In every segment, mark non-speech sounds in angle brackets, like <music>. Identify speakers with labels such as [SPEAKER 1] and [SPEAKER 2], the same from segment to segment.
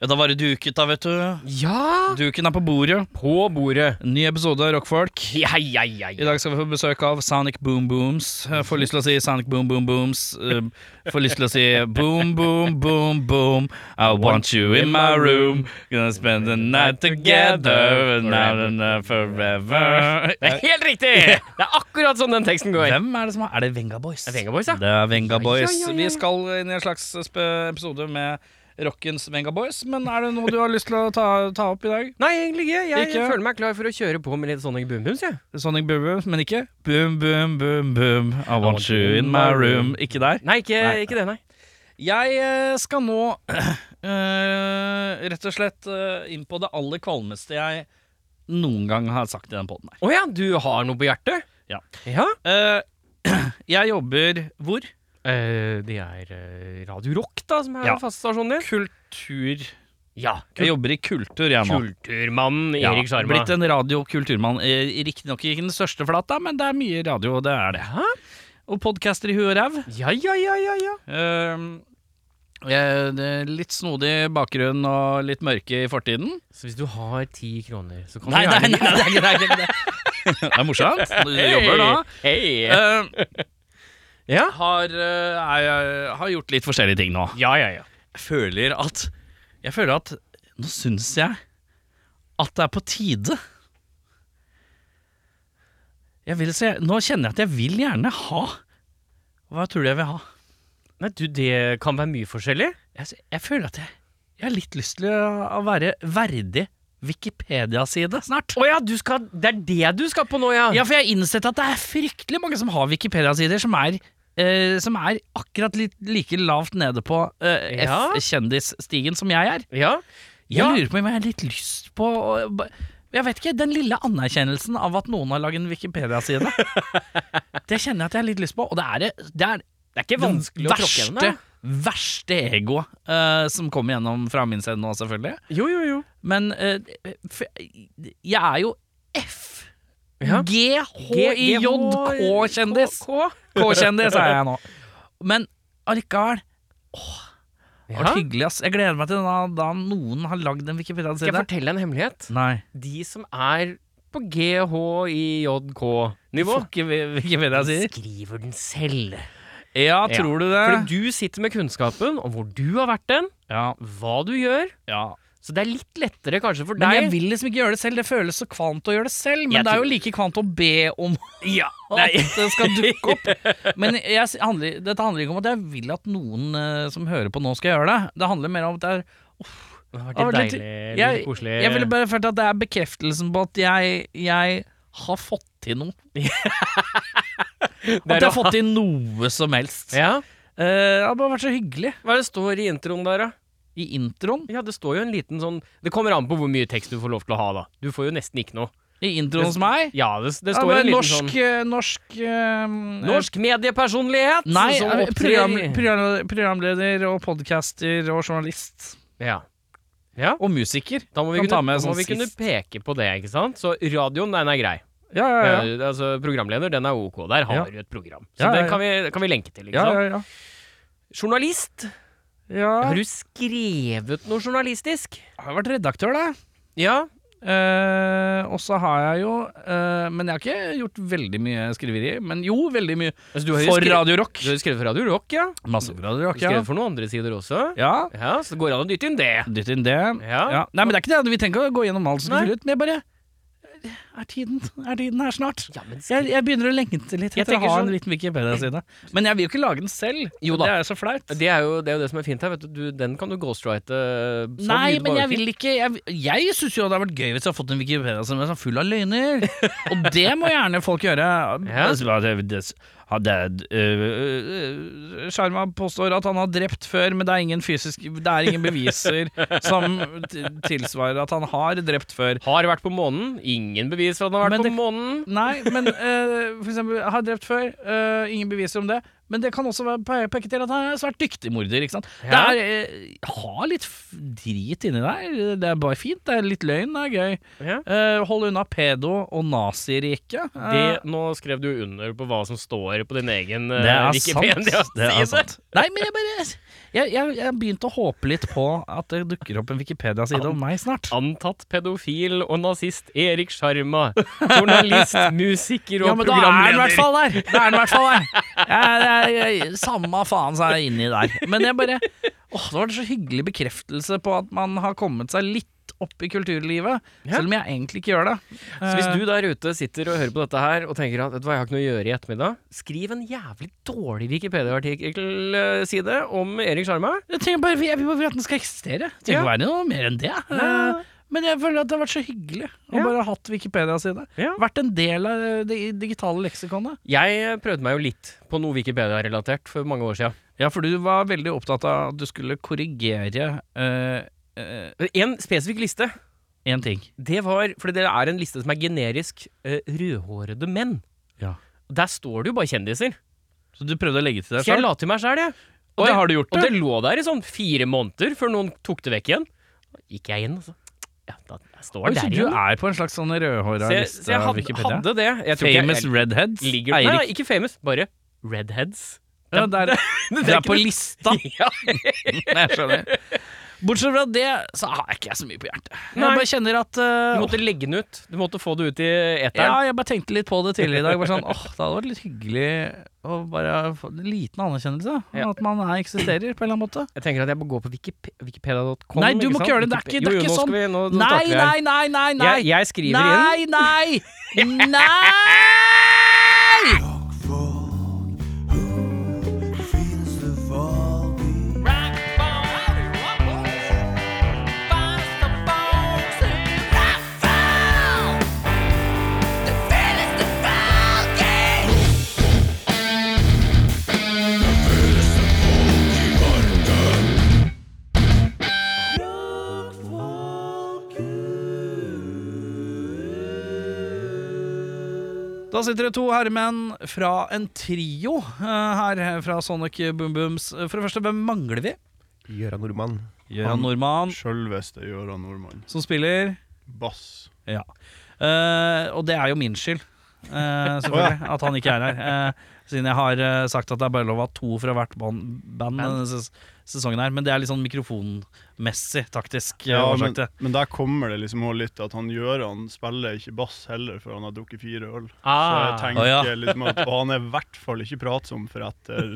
[SPEAKER 1] Ja, da var det duket, da, vet du.
[SPEAKER 2] Ja!
[SPEAKER 1] Duken er på bordet.
[SPEAKER 2] På bordet.
[SPEAKER 1] En Ny episode av Rockfolk.
[SPEAKER 2] Ja, ja, ja,
[SPEAKER 1] I dag skal vi få besøk av Sonic Boom Booms. Jeg får lyst til å si Sonic Boom Boom Booms. Eh, Får lyst til å si Boom Boom Boom Boom. I want you in my room. Gonna spend the night together. Now and forever.
[SPEAKER 2] Det er helt riktig! Det er akkurat sånn den teksten går.
[SPEAKER 1] Hvem er det som er Er det Venga Boys?
[SPEAKER 2] Det er Venga Boys, ja.
[SPEAKER 1] Det er Venga Boys.
[SPEAKER 2] ja, ja, ja.
[SPEAKER 1] Vi skal inn i en slags spe- episode med rockens Venga Boys, men er det noe du har lyst til å ta, ta opp i dag?
[SPEAKER 2] Nei, egentlig ikke. Jeg
[SPEAKER 1] Ikke?
[SPEAKER 2] føler meg klar for å kjøre på med litt sånne boombooms, jeg.
[SPEAKER 1] Sonic Boom Booms, sånn men ikke Boom Boom Boom Boom. I want you in
[SPEAKER 2] eh,
[SPEAKER 1] my room. Ikke der?
[SPEAKER 2] Nei, ikke,
[SPEAKER 1] Nei.
[SPEAKER 2] ikke det, nei.
[SPEAKER 1] Jeg eh, skal nå <clears throat> eh, rett og slett eh, inn på det aller kvalmeste jeg noen gang har sagt i den poden her.
[SPEAKER 2] Å ja, du har noe på hjertet?
[SPEAKER 1] Ja.
[SPEAKER 2] ja.
[SPEAKER 1] Eh, <clears throat> jeg jobber hvor?
[SPEAKER 2] Eh, det er eh, Radio Rock, da, som er
[SPEAKER 1] Ja.
[SPEAKER 2] faststasjonen din.
[SPEAKER 1] Kultur.
[SPEAKER 2] Ja.
[SPEAKER 1] Jeg jobber i kultur, jeg nå.
[SPEAKER 2] Kulturmannen
[SPEAKER 1] Ja,
[SPEAKER 2] Erik Sjarma.
[SPEAKER 1] Blitt en radiokulturmann. Eh, Riktignok ikke den største flata, men det er mye radio, og det er det.
[SPEAKER 2] Hæ?
[SPEAKER 1] Og podcaster i huet og ræv.
[SPEAKER 2] Ja, ja, ja, ja, ja.
[SPEAKER 1] Eh, eh, det er litt snodig bakgrunn og litt mørke i fortiden.
[SPEAKER 2] Så hvis du har ti kroner, så kan
[SPEAKER 1] Nei, nei,
[SPEAKER 2] du gjerne
[SPEAKER 1] nei, nei, nei, nei, nei, nei. <laughs> Det er morsomt. Du jobber da.
[SPEAKER 2] Hei.
[SPEAKER 1] Eh,
[SPEAKER 2] ja.
[SPEAKER 1] har, eh, er, jeg- har gjort litt forskjellige ting nå.
[SPEAKER 2] ja, ja, ja.
[SPEAKER 1] Jeg føler at Jeg føler at Nå syns jeg at det er på tide. Jeg vil se, nå kjenner jeg at jeg vil gjerne ha Hva tror du jeg vil ha?
[SPEAKER 2] Nei, du, det kan være mye forskjellig.
[SPEAKER 1] Jeg, s- jeg føler at jeg, jeg har litt lyst til å, å være verdig Wikipedia-side snart.
[SPEAKER 2] Å ja, du skal, det er det du skal på nå, ja?
[SPEAKER 1] Ja, for jeg har innsett at det er fryktelig mange som har Wikipedia-sider som er eh, som er akkurat litt like lavt nede på eh,
[SPEAKER 2] Ja.
[SPEAKER 1] F-kjendisstigen som jeg er.
[SPEAKER 2] ja.
[SPEAKER 1] Jeg
[SPEAKER 2] Ja.
[SPEAKER 1] lurer på om jeg har litt lyst på å- ba- Jeg vet ikke, Den lille anerkjennelsen av at noen har laget en
[SPEAKER 2] <laughs>
[SPEAKER 1] Wikipedia-side. det kjenner jeg at jeg har litt lyst på, og det er det, det, er
[SPEAKER 2] Det er ikke
[SPEAKER 1] det
[SPEAKER 2] vanskelig å tråkke gjennom
[SPEAKER 1] verste,
[SPEAKER 2] det.
[SPEAKER 1] verste egoet eh, som kommer gjennom fra min side nå, selvfølgelig.
[SPEAKER 2] Jo, jo, jo.
[SPEAKER 1] Men eh, f- jeg er jo F.
[SPEAKER 2] Ja.
[SPEAKER 1] G, H, I, J, K-kjendis.
[SPEAKER 2] K.
[SPEAKER 1] K-kjendis er jeg nå. Men allikevel det har
[SPEAKER 2] Ja.
[SPEAKER 1] vært hyggelig, ass. Jeg gleder meg til da, da noen har lagd en
[SPEAKER 2] Skal jeg
[SPEAKER 1] Wikipedia-side.
[SPEAKER 2] fortelle en hemmelighet?
[SPEAKER 1] Nei.
[SPEAKER 2] Mm. De som er på GHIJK-nivå
[SPEAKER 1] Får ikke vi- Wikipedia-sider.
[SPEAKER 2] Skriver den selv.
[SPEAKER 1] Ja,
[SPEAKER 2] tror
[SPEAKER 1] tror du
[SPEAKER 2] Fordi
[SPEAKER 1] det?
[SPEAKER 2] du sitter med kunnskapen om hvor du har vært den,
[SPEAKER 1] Ja,
[SPEAKER 2] hva du gjør.
[SPEAKER 1] ja.
[SPEAKER 2] Så det er litt lettere kanskje for
[SPEAKER 1] Men
[SPEAKER 2] deg.
[SPEAKER 1] jeg vil liksom ikke gjøre det selv. Det føles så kvalmt å gjøre det selv, men
[SPEAKER 2] Jeg
[SPEAKER 1] det er
[SPEAKER 2] tror-
[SPEAKER 1] jo like kvalmt å be om
[SPEAKER 2] Ja,
[SPEAKER 1] at det skal dukke
[SPEAKER 2] <laughs>
[SPEAKER 1] opp. Men jeg, s- handler, dette handler ikke om at jeg vil at noen eh, som hører på nå, skal gjøre det. Det handler mer om at det er
[SPEAKER 2] Det
[SPEAKER 1] Ja,
[SPEAKER 2] har vært litt
[SPEAKER 1] litt-
[SPEAKER 2] deilig, litt
[SPEAKER 1] jeg-
[SPEAKER 2] koselig.
[SPEAKER 1] Jeg ville bare følt at det er bekreftelsen på at jeg, jeg har fått til
[SPEAKER 2] <laughs>
[SPEAKER 1] noe. At jeg har fått til noe som helst.
[SPEAKER 2] Ja,
[SPEAKER 1] Eh, det har bare vært så hyggelig.
[SPEAKER 2] Hva er det står i introen der, da?
[SPEAKER 1] I introen
[SPEAKER 2] Ja, Det står jo en liten sånn Det kommer an på hvor mye tekst du får lov til å ha, da. Du får jo nesten ikke noe.
[SPEAKER 1] I introen
[SPEAKER 2] Det-
[SPEAKER 1] hos meg
[SPEAKER 2] Ja, det, det
[SPEAKER 1] ja,
[SPEAKER 2] står
[SPEAKER 1] men
[SPEAKER 2] en liten
[SPEAKER 1] norsk,
[SPEAKER 2] sånn
[SPEAKER 1] eh, norsk eh,
[SPEAKER 2] Norsk mediepersonlighet!
[SPEAKER 1] Nei,
[SPEAKER 2] som
[SPEAKER 1] eh,
[SPEAKER 2] opptrer
[SPEAKER 1] program,
[SPEAKER 2] i-
[SPEAKER 1] program, programleder og podcaster og journalist.
[SPEAKER 2] Ja. ja.
[SPEAKER 1] Og musiker.
[SPEAKER 2] Da må vi,
[SPEAKER 1] Kan
[SPEAKER 2] kunne,
[SPEAKER 1] ta med
[SPEAKER 2] da må
[SPEAKER 1] sånn
[SPEAKER 2] vi kunne
[SPEAKER 1] sist.
[SPEAKER 2] peke på det, ikke sant? Så radioen, den er grei.
[SPEAKER 1] Ja, ja, ja.
[SPEAKER 2] Eh, Altså, programleder, den er ok. Der
[SPEAKER 1] Ja.
[SPEAKER 2] har du et program. Så
[SPEAKER 1] Ja, ja,
[SPEAKER 2] den kan vi, kan vi lenke til, ikke
[SPEAKER 1] ja,
[SPEAKER 2] sant?
[SPEAKER 1] ja, ja.
[SPEAKER 2] Journalist.
[SPEAKER 1] ja.
[SPEAKER 2] Har du skrevet noe journalistisk?
[SPEAKER 1] Jeg har vært redaktør, da.
[SPEAKER 2] Ja.
[SPEAKER 1] Eh, og så har jeg jo eh, Men jeg har ikke gjort veldig mye skriveri. Men jo, veldig mye.
[SPEAKER 2] Altså, du har jo
[SPEAKER 1] For
[SPEAKER 2] skrevet,
[SPEAKER 1] Radio Rock.
[SPEAKER 2] du har jo skrevet for Radio Rock, ja.
[SPEAKER 1] Masse for Radio
[SPEAKER 2] Du
[SPEAKER 1] Rock,
[SPEAKER 2] har
[SPEAKER 1] ja.
[SPEAKER 2] skrevet for noen andre sider også.
[SPEAKER 1] ja.
[SPEAKER 2] Ja, så det går an å dytte inn det.
[SPEAKER 1] Dytt inn det.
[SPEAKER 2] Ja.
[SPEAKER 1] Ja. Nei, men det er ikke det. Vi trenger ikke å gå gjennom alt som
[SPEAKER 2] Nei.
[SPEAKER 1] skal ut. Men jeg bare Er tiden, er tiden her snart?
[SPEAKER 2] Ja, men
[SPEAKER 1] Jeg, jeg begynner å lengte litt
[SPEAKER 2] Jeg
[SPEAKER 1] etter å
[SPEAKER 2] tenker
[SPEAKER 1] ha
[SPEAKER 2] sånn-
[SPEAKER 1] en liten Wikipedia-side. Men jeg vil jo ikke lage den selv.
[SPEAKER 2] Jo da.
[SPEAKER 1] Det er jo så flaut.
[SPEAKER 2] Det er, jo, det er jo det som er fint her. vet du, du Den kan du ghostwrite eh, så
[SPEAKER 1] Nei,
[SPEAKER 2] mye
[SPEAKER 1] men
[SPEAKER 2] du bare
[SPEAKER 1] jeg vil ikke Jeg, jeg syns jo det hadde vært gøy hvis jeg hadde fått en Wikipedia som er sånn full av løgner. Og det må gjerne folk gjøre.
[SPEAKER 2] <laughs> Ja.
[SPEAKER 1] Altså, hva det- det- ha- det- øh, øh, Sharma påstår at han har drept før, men det er ingen fysisk Det er ingen beviser som t- tilsvarer at han har drept før.
[SPEAKER 2] Har vært på månen. Ingen bevis for at den har
[SPEAKER 1] Men eh,
[SPEAKER 2] vært
[SPEAKER 1] det-
[SPEAKER 2] på månen.
[SPEAKER 1] Nei, men øh, for eksempel har drept før. øh, ingen beviser om det. Men det kan også være- pe- peke til at han er en svært dyktig morder. ikke sant?
[SPEAKER 2] Ja.
[SPEAKER 1] Det er, eh, ha litt f- drit inni der. Det er bare fint. Det er litt løgn. Det er gøy.
[SPEAKER 2] Ja.
[SPEAKER 1] Eh, hold unna pedo og naziriket. Eh,
[SPEAKER 2] Det, nå skrev du under på hva som står på din egen eh,
[SPEAKER 1] det er sant.
[SPEAKER 2] Wikipedia.
[SPEAKER 1] Det er
[SPEAKER 2] side.
[SPEAKER 1] sant. Nei, men jeg bare Jeg, jeg, jeg begynte å håpe litt på at det dukker opp en Wikipedia-side om meg snart.
[SPEAKER 2] Antatt pedofil og nazist Erik Sjarma.
[SPEAKER 1] <laughs>
[SPEAKER 2] Journalist, musiker og
[SPEAKER 1] Ja, men da er den i hvert
[SPEAKER 2] programleder.
[SPEAKER 1] fall der! Da er den i hvert fall <laughs> der. Jeg, jeg, jeg, samme faen så er jeg inni der. Men jeg bare Åh, det var en så hyggelig bekreftelse på at man har kommet seg litt opp i kulturlivet.
[SPEAKER 2] Ja.
[SPEAKER 1] Selv om jeg egentlig ikke gjør det. Eh,
[SPEAKER 2] Så hvis du der ute sitter og hører på dette her og tenker at vet du hva, jeg har ikke noe å gjøre i ettermiddag, skriv en jævlig dårlig Wikipedia-artikkelside om Erik Sjarma.
[SPEAKER 1] Jeg trenger bare, jeg vil bare at den skal eksistere. Det trenger ikke være noe mer enn det. Eh, Men jeg føler at det har vært så hyggelig å
[SPEAKER 2] Ja.
[SPEAKER 1] bare ha hatt Wikipedia-side.
[SPEAKER 2] Ja.
[SPEAKER 1] Vært en del av det digitale leksikonet.
[SPEAKER 2] Jeg prøvde meg jo litt på noe Wikipedia-relatert for mange år siden.
[SPEAKER 1] Ja, for du var veldig opptatt av at du skulle korrigere én
[SPEAKER 2] En spesifikk liste,
[SPEAKER 1] ting.
[SPEAKER 2] det var Fordi det er en liste som er generisk eh, rødhårede menn.
[SPEAKER 1] Ja.
[SPEAKER 2] Der står det jo bare kjendiser.
[SPEAKER 1] Så du prøvde å legge til deg
[SPEAKER 2] Så jeg
[SPEAKER 1] sjøl?
[SPEAKER 2] la til meg sjæl, jeg.
[SPEAKER 1] Og det har du gjort,
[SPEAKER 2] Og
[SPEAKER 1] du.
[SPEAKER 2] det lå der i sånn fire måneder før noen tok det vekk igjen. Gikk jeg inn, altså. Ja, da jeg står
[SPEAKER 1] Oi, så
[SPEAKER 2] der
[SPEAKER 1] du
[SPEAKER 2] igjen.
[SPEAKER 1] er på en slags sånn rødhåra
[SPEAKER 2] Så jeg, så
[SPEAKER 1] liste
[SPEAKER 2] jeg
[SPEAKER 1] av
[SPEAKER 2] hadde,
[SPEAKER 1] Wikipedia?
[SPEAKER 2] hadde det. Jeg tror ikke
[SPEAKER 1] Famous
[SPEAKER 2] jeg,
[SPEAKER 1] redheads?
[SPEAKER 2] jeg ligger, nei,
[SPEAKER 1] Eirik?
[SPEAKER 2] nei, ikke famous, bare redheads.
[SPEAKER 1] Ja, der,
[SPEAKER 2] <laughs> Det
[SPEAKER 1] det
[SPEAKER 2] er
[SPEAKER 1] er på
[SPEAKER 2] ikke- <laughs>
[SPEAKER 1] lista!
[SPEAKER 2] Ja.
[SPEAKER 1] Nei, jeg skjønner. Bortsett fra det, så har ikke jeg så mye på hjertet. Jeg
[SPEAKER 2] Nei.
[SPEAKER 1] bare kjenner at eh,
[SPEAKER 2] Du måtte legge den ut. Du måtte få det ut i
[SPEAKER 1] Ja,
[SPEAKER 2] eteren.
[SPEAKER 1] jeg bare tenkte litt på det tidligere i dag. Bare sånn, åh, Det hadde vært litt hyggelig å bare få en liten anerkjennelse.
[SPEAKER 2] Ja.
[SPEAKER 1] At man er, eksisterer på en eller annen måte.
[SPEAKER 2] Jeg tenker at jeg må gå på Wikipe- wikipedia.com.
[SPEAKER 1] Nei, du
[SPEAKER 2] ikke
[SPEAKER 1] må
[SPEAKER 2] sant?
[SPEAKER 1] ikke gjøre det. Det er ikke- det er
[SPEAKER 2] Jo, jo,
[SPEAKER 1] ikke
[SPEAKER 2] nå skal
[SPEAKER 1] sånn.
[SPEAKER 2] vi- nå- nå
[SPEAKER 1] Nei,
[SPEAKER 2] starter vi her.
[SPEAKER 1] nei, nei, nei! nei
[SPEAKER 2] Jeg, jeg skriver inn.
[SPEAKER 1] Nei, nei! Nei! Da sitter det to herremenn fra en trio eh, her fra Sonic Boom Booms. For det første, hvem mangler vi?
[SPEAKER 3] Gjøran Nordmann.
[SPEAKER 1] Gøran Nordmann,
[SPEAKER 3] Sjølveste Gjøran Nordmann.
[SPEAKER 1] som spiller.
[SPEAKER 3] Bass.
[SPEAKER 1] Ja. Eh, og det er jo min skyld, <laughs> eh, selvfølgelig, at han ikke er her. Eh, siden jeg har eh, sagt at det er bare lov å ha to fra hvert band, band denne ses sesongen her. Men det er litt sånn mikrofonmessig, taktisk. eh,
[SPEAKER 3] men,
[SPEAKER 1] årsak til.
[SPEAKER 3] men der kommer det liksom også litt at han Gjøran spiller ikke bass heller, før han har drukket fire øl. Så jeg
[SPEAKER 2] Ah.
[SPEAKER 3] tenker
[SPEAKER 1] Å, ja.
[SPEAKER 3] liksom at Og han er i hvert fall ikke pratsom for etter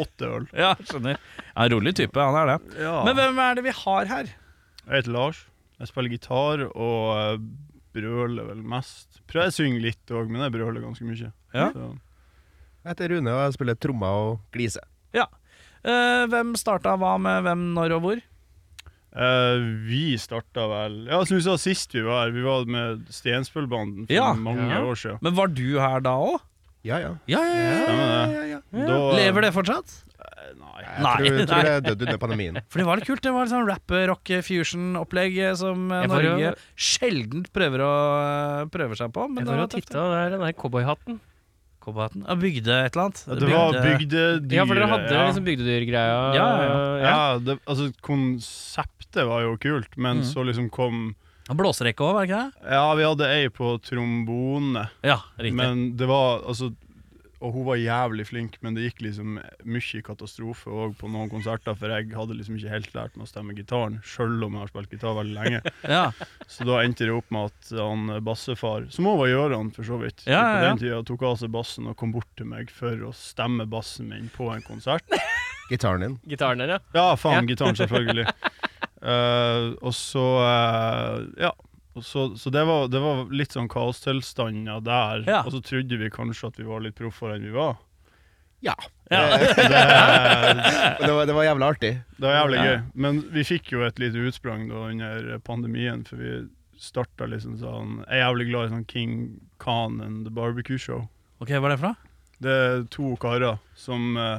[SPEAKER 3] åtte
[SPEAKER 2] <laughs>
[SPEAKER 3] øl.
[SPEAKER 1] <laughs> Ja, skjønner. Ja, en rolig type, han er det.
[SPEAKER 3] Ja.
[SPEAKER 1] Men hvem er det vi har her?
[SPEAKER 3] Jeg heter Lars. Jeg spiller gitar og eh, brøler vel mest. Prøver jeg synger litt òg, men jeg brøler ganske mye.
[SPEAKER 1] Ja.
[SPEAKER 3] Så-
[SPEAKER 4] Jeg heter Rune, og jeg spiller trommer og glise.
[SPEAKER 1] Ja. Eh, hvem starta hva med hvem, når og hvor?
[SPEAKER 3] Eh, vi starta vel Ja, som vi sa sist vi var her, vi var med Stenspøllbanden for
[SPEAKER 1] Ja.
[SPEAKER 3] mange
[SPEAKER 2] Ja.
[SPEAKER 3] år siden.
[SPEAKER 1] Men var du her da òg?
[SPEAKER 4] Ja, ja.
[SPEAKER 1] Ja, ja,
[SPEAKER 3] Stemmer det. Da,
[SPEAKER 1] Lever det fortsatt?
[SPEAKER 3] Nei.
[SPEAKER 4] Jeg
[SPEAKER 1] Nei,
[SPEAKER 4] tror,
[SPEAKER 1] nei.
[SPEAKER 4] tror det er dødd under pandemien.
[SPEAKER 1] For det var litt kult. Det var litt sånn rap-rock-fusion-opplegg eh, som eh,
[SPEAKER 2] Jeg var jo-
[SPEAKER 1] Norge sjelden prøver, å, eh, prøver seg på. Men
[SPEAKER 2] Jeg
[SPEAKER 1] det
[SPEAKER 2] var og
[SPEAKER 1] var
[SPEAKER 2] titta der, den der cowboyhatten.
[SPEAKER 1] Cowboyhatten. Ja, Bygde et eller annet.
[SPEAKER 3] Ja, det var
[SPEAKER 1] Bygde-
[SPEAKER 3] bygdedyret.
[SPEAKER 2] Ja, for dere hadde
[SPEAKER 3] ja.
[SPEAKER 2] liksom bygdedyrgreia.
[SPEAKER 1] Ja,
[SPEAKER 3] ja.
[SPEAKER 2] ja.
[SPEAKER 3] det, altså Konseptet var jo kult, men så liksom kom
[SPEAKER 1] Blåserekke òg, var det ikke det?
[SPEAKER 3] Ja, vi hadde ei på trombone,
[SPEAKER 1] Ja, riktig.
[SPEAKER 3] men det var altså Og hun var jævlig flink, men det gikk liksom mye katastrofe òg på noen konserter, for jeg hadde liksom ikke helt lært meg å stemme gitaren, sjøl om jeg har spilt gitar veldig lenge.
[SPEAKER 1] Ja.
[SPEAKER 3] Så da endte det opp med at han eh, bassefar, som òg var Gjøran for så vidt,
[SPEAKER 1] Ja, ja,
[SPEAKER 3] på
[SPEAKER 1] ja.
[SPEAKER 3] den tida tok av seg bassen og kom bort til meg for å stemme bassen min på en konsert.
[SPEAKER 4] Gitaren din.
[SPEAKER 2] Gitaren der, ja.
[SPEAKER 3] Ja, faen,
[SPEAKER 1] <laughs>
[SPEAKER 3] gitaren, selvfølgelig. Eh, og så eh, Ja. Og så, så det, var, det var litt sånn kaostilstander der.
[SPEAKER 1] Ja.
[SPEAKER 3] Og så trodde vi kanskje at vi var litt proffere enn vi var.
[SPEAKER 4] Ja.
[SPEAKER 3] Det,
[SPEAKER 4] Det,
[SPEAKER 3] det
[SPEAKER 1] <laughs>
[SPEAKER 4] det, var, det var jævla artig.
[SPEAKER 3] var jævlig
[SPEAKER 1] Ja.
[SPEAKER 3] gøy. Men vi fikk jo et lite utsprang da under pandemien, for vi starta liksom sånn Jeg er jævlig glad i sånn King Khan and The Barbecue Show.
[SPEAKER 1] Ok, hva er det for noe?
[SPEAKER 3] Det er to karer som eh,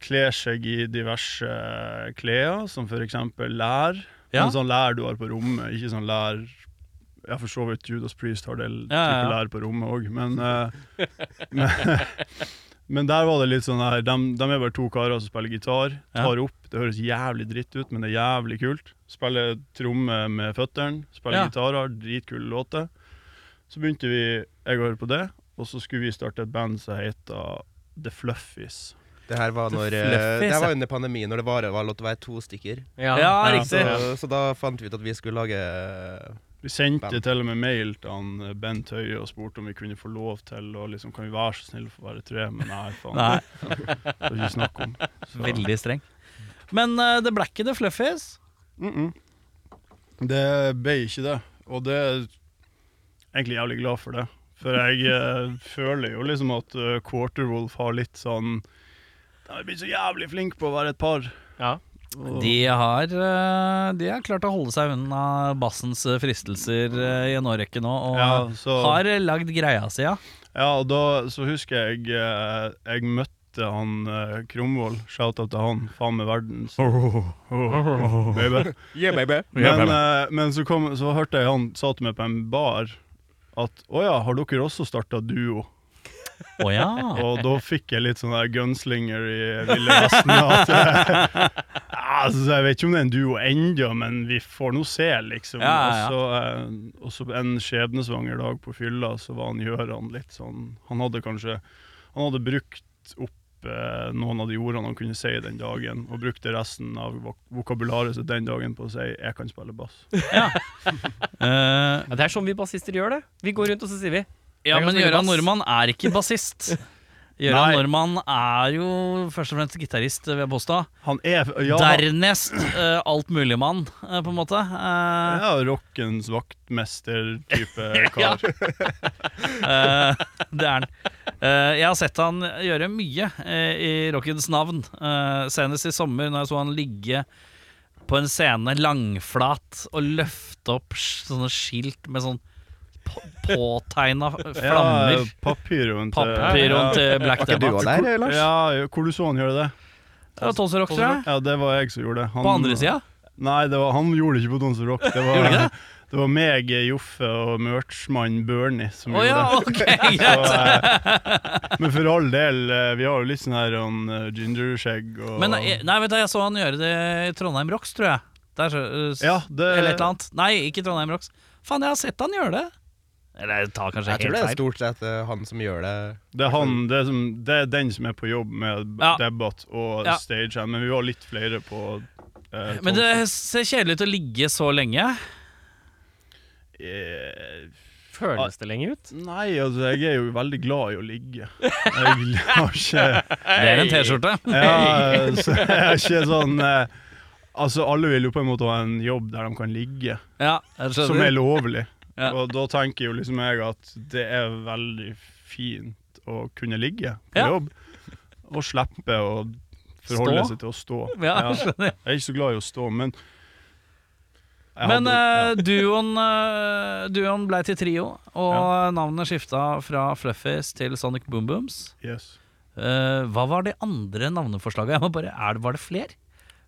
[SPEAKER 3] kler seg i diverse eh, klær, som f.eks. lær.
[SPEAKER 1] Ja.
[SPEAKER 3] En sånn lær du har på rommet, ikke sånn lær Ja, for så vidt Judas Priest har del
[SPEAKER 1] Ja, ja,
[SPEAKER 3] type
[SPEAKER 1] ja. <laughs>
[SPEAKER 3] lær på rommet òg, men, eh, men Men der var det litt sånn her de, er bare to karer som spiller gitar.
[SPEAKER 1] Ja.
[SPEAKER 3] Tar opp. Det høres jævlig dritt ut, men det er jævlig kult. Spiller tromme med føttene. Spiller
[SPEAKER 1] Ja.
[SPEAKER 3] gitarer. Dritkule låter. Så begynte vi jeg å høre på det, og så skulle vi starte et band som heter The Fluffies.
[SPEAKER 4] Det her var, når, eh,
[SPEAKER 1] Fluffy,
[SPEAKER 4] det her
[SPEAKER 1] se.
[SPEAKER 4] var under pandemien, når det bare var lov til å være to stykker.
[SPEAKER 2] Ja.
[SPEAKER 1] Ja,
[SPEAKER 3] Ja,
[SPEAKER 1] riktig.
[SPEAKER 4] Så, så da fant vi ut at vi skulle lage eh,
[SPEAKER 3] Vi sendte
[SPEAKER 4] Band.
[SPEAKER 3] til og med mail til han eh, Bent Høie og spurte om vi kunne få lov til å liksom, Kan vi være så snill å få være tre? Men nei, faen.
[SPEAKER 1] Nei,
[SPEAKER 3] Det er ikke snakk om. Så-
[SPEAKER 1] veldig streng. Men eh, det ble ikke The Fluffies.
[SPEAKER 3] Mm -mm. Det ble ikke det, og det er egentlig jævlig glad for det. For jeg eh, føler jo liksom at eh, Quarterwolf har litt sånn De har blitt så jævlig flinke på å være et par.
[SPEAKER 2] Ja.
[SPEAKER 3] Og,
[SPEAKER 1] De har, eh, de har klart å holde seg unna bassens eh, fristelser eh, i en årrekke nå, og
[SPEAKER 3] ja, så,
[SPEAKER 1] har eh, lagd greia si, ja.
[SPEAKER 3] ja, og da så husker jeg eh, jeg møtte han eh, Kromvold. Shout-out til han. Faen meg verdens oh, baby. <laughs>
[SPEAKER 4] Yeah, baby.
[SPEAKER 3] Men, eh, men så, kom, så hørte jeg han sa til meg på en bar at å ja, har dere også starta duo?
[SPEAKER 1] Å <laughs> ja.
[SPEAKER 3] Og da fikk jeg litt sånn der gunslinger i Ville Vesten. At jeg,
[SPEAKER 1] <laughs>
[SPEAKER 3] altså, jeg vet ikke om det er en duo ennå, men vi får nå se, liksom.
[SPEAKER 1] Ja, ja, ja.
[SPEAKER 3] Og, så, eh, og så en skjebnesvanger dag på fylla, så var han Gjøran litt sånn Han hadde kanskje Han hadde brukt opp eh, noen av de ordene han kunne si den dagen, og brukte resten av vok- vokabularet sitt den dagen på å si 'jeg kan spille bass'.
[SPEAKER 1] Eh,
[SPEAKER 2] Ja, det er sånn vi bassister gjør det. Vi går rundt og så sier vi
[SPEAKER 1] ja,
[SPEAKER 2] Jeg kan
[SPEAKER 1] men
[SPEAKER 2] spille
[SPEAKER 1] Gøran
[SPEAKER 2] bass.
[SPEAKER 1] Normann er ikke
[SPEAKER 3] <laughs>
[SPEAKER 1] bassist. Gøran
[SPEAKER 3] Nei.
[SPEAKER 1] Normann er jo først og fremst gitarist, vil jeg påstå.
[SPEAKER 3] Han er ja, han-
[SPEAKER 1] Dernest uh, altmuligmann, uh, på en måte. Eh,
[SPEAKER 3] ja, rockens
[SPEAKER 1] <laughs>
[SPEAKER 3] vaktmester-type kar.
[SPEAKER 1] eh, det er han. Eh, jeg har sett han gjøre mye eh, i rockens navn. Eh, senest i sommer, når jeg så han ligge på en scene langflat og løfte opp s- sånne skilt med sånn på- påtegna
[SPEAKER 3] Ja,
[SPEAKER 1] flammer.
[SPEAKER 3] Papyroen til
[SPEAKER 1] Papyron til Black
[SPEAKER 4] Var ikke du
[SPEAKER 1] Debate.
[SPEAKER 4] også der, Lars?
[SPEAKER 3] Ja, ja, hvor du så han gjøre det?
[SPEAKER 1] Det var Tons Rock, tror jeg.
[SPEAKER 3] Ja, det var jeg som gjorde det. Han-
[SPEAKER 1] På andre sida.
[SPEAKER 3] Nei, det var, han gjorde det ikke på Dons Rock. Det var,
[SPEAKER 1] Gjorde ikke
[SPEAKER 3] det? var meg, Joffe og merchmann Bernie som
[SPEAKER 1] Å ja,
[SPEAKER 3] <laughs> gjorde det.
[SPEAKER 1] ok,
[SPEAKER 3] Så,
[SPEAKER 1] greit.
[SPEAKER 3] eh, men for all del, eh, vi har jo litt sånn her um, gingerskjegg og
[SPEAKER 1] <laughs> Men eh, nei, vet du, jeg så han gjøre det i Trondheim Rocks, tror jeg. Der, så- eh, s-
[SPEAKER 3] Ja, det-
[SPEAKER 1] Eller et eller annet. Nei, ikke Trondheim Rocks. Faen, jeg har sett han gjøre det. Eller jeg tar kanskje
[SPEAKER 4] Jeg tror det er
[SPEAKER 1] helt feil.
[SPEAKER 4] stort sett eh, han som gjør det.
[SPEAKER 3] Det er, han, det, er som, det er den som er på jobb med
[SPEAKER 1] Ja.
[SPEAKER 3] debatt og
[SPEAKER 1] Ja.
[SPEAKER 3] stagehand, men vi var litt flere på eh,
[SPEAKER 1] Men det ser
[SPEAKER 3] Thompson.
[SPEAKER 1] kjedelig ut å ligge så lenge.
[SPEAKER 3] Eh,
[SPEAKER 2] Føles det lenge ut?
[SPEAKER 3] Nei, altså, jeg er jo veldig glad i å ligge. Jeg har ikke
[SPEAKER 1] Det er en T-skjorte. <laughs>
[SPEAKER 3] Ja, så jeg er ikke sånn eh, Altså, alle vil jo på en måte ha en jobb der de kan ligge,
[SPEAKER 1] Ja, jeg
[SPEAKER 3] som er
[SPEAKER 1] skjønner.
[SPEAKER 3] lovlig.
[SPEAKER 1] Ja.
[SPEAKER 3] Og da tenker jo liksom jeg at det er veldig fint å kunne ligge på
[SPEAKER 1] Ja.
[SPEAKER 3] jobb, og slippe å forholde
[SPEAKER 1] Stå?
[SPEAKER 3] seg til å stå.
[SPEAKER 1] Ja,
[SPEAKER 3] Ja.
[SPEAKER 1] jeg skjønner.
[SPEAKER 3] Jeg er ikke så glad i å stå, men
[SPEAKER 1] <laughs>
[SPEAKER 3] jeg
[SPEAKER 1] Men
[SPEAKER 3] hadde-
[SPEAKER 1] eh, duoen, eh, duoen ble til trio, og navnet skifta fra Fluffies til Sonic Boom Booms.
[SPEAKER 3] ja, yes.
[SPEAKER 1] Eh, hva var de andre navneforslagene? Jeg må bare, er, det- var det flere?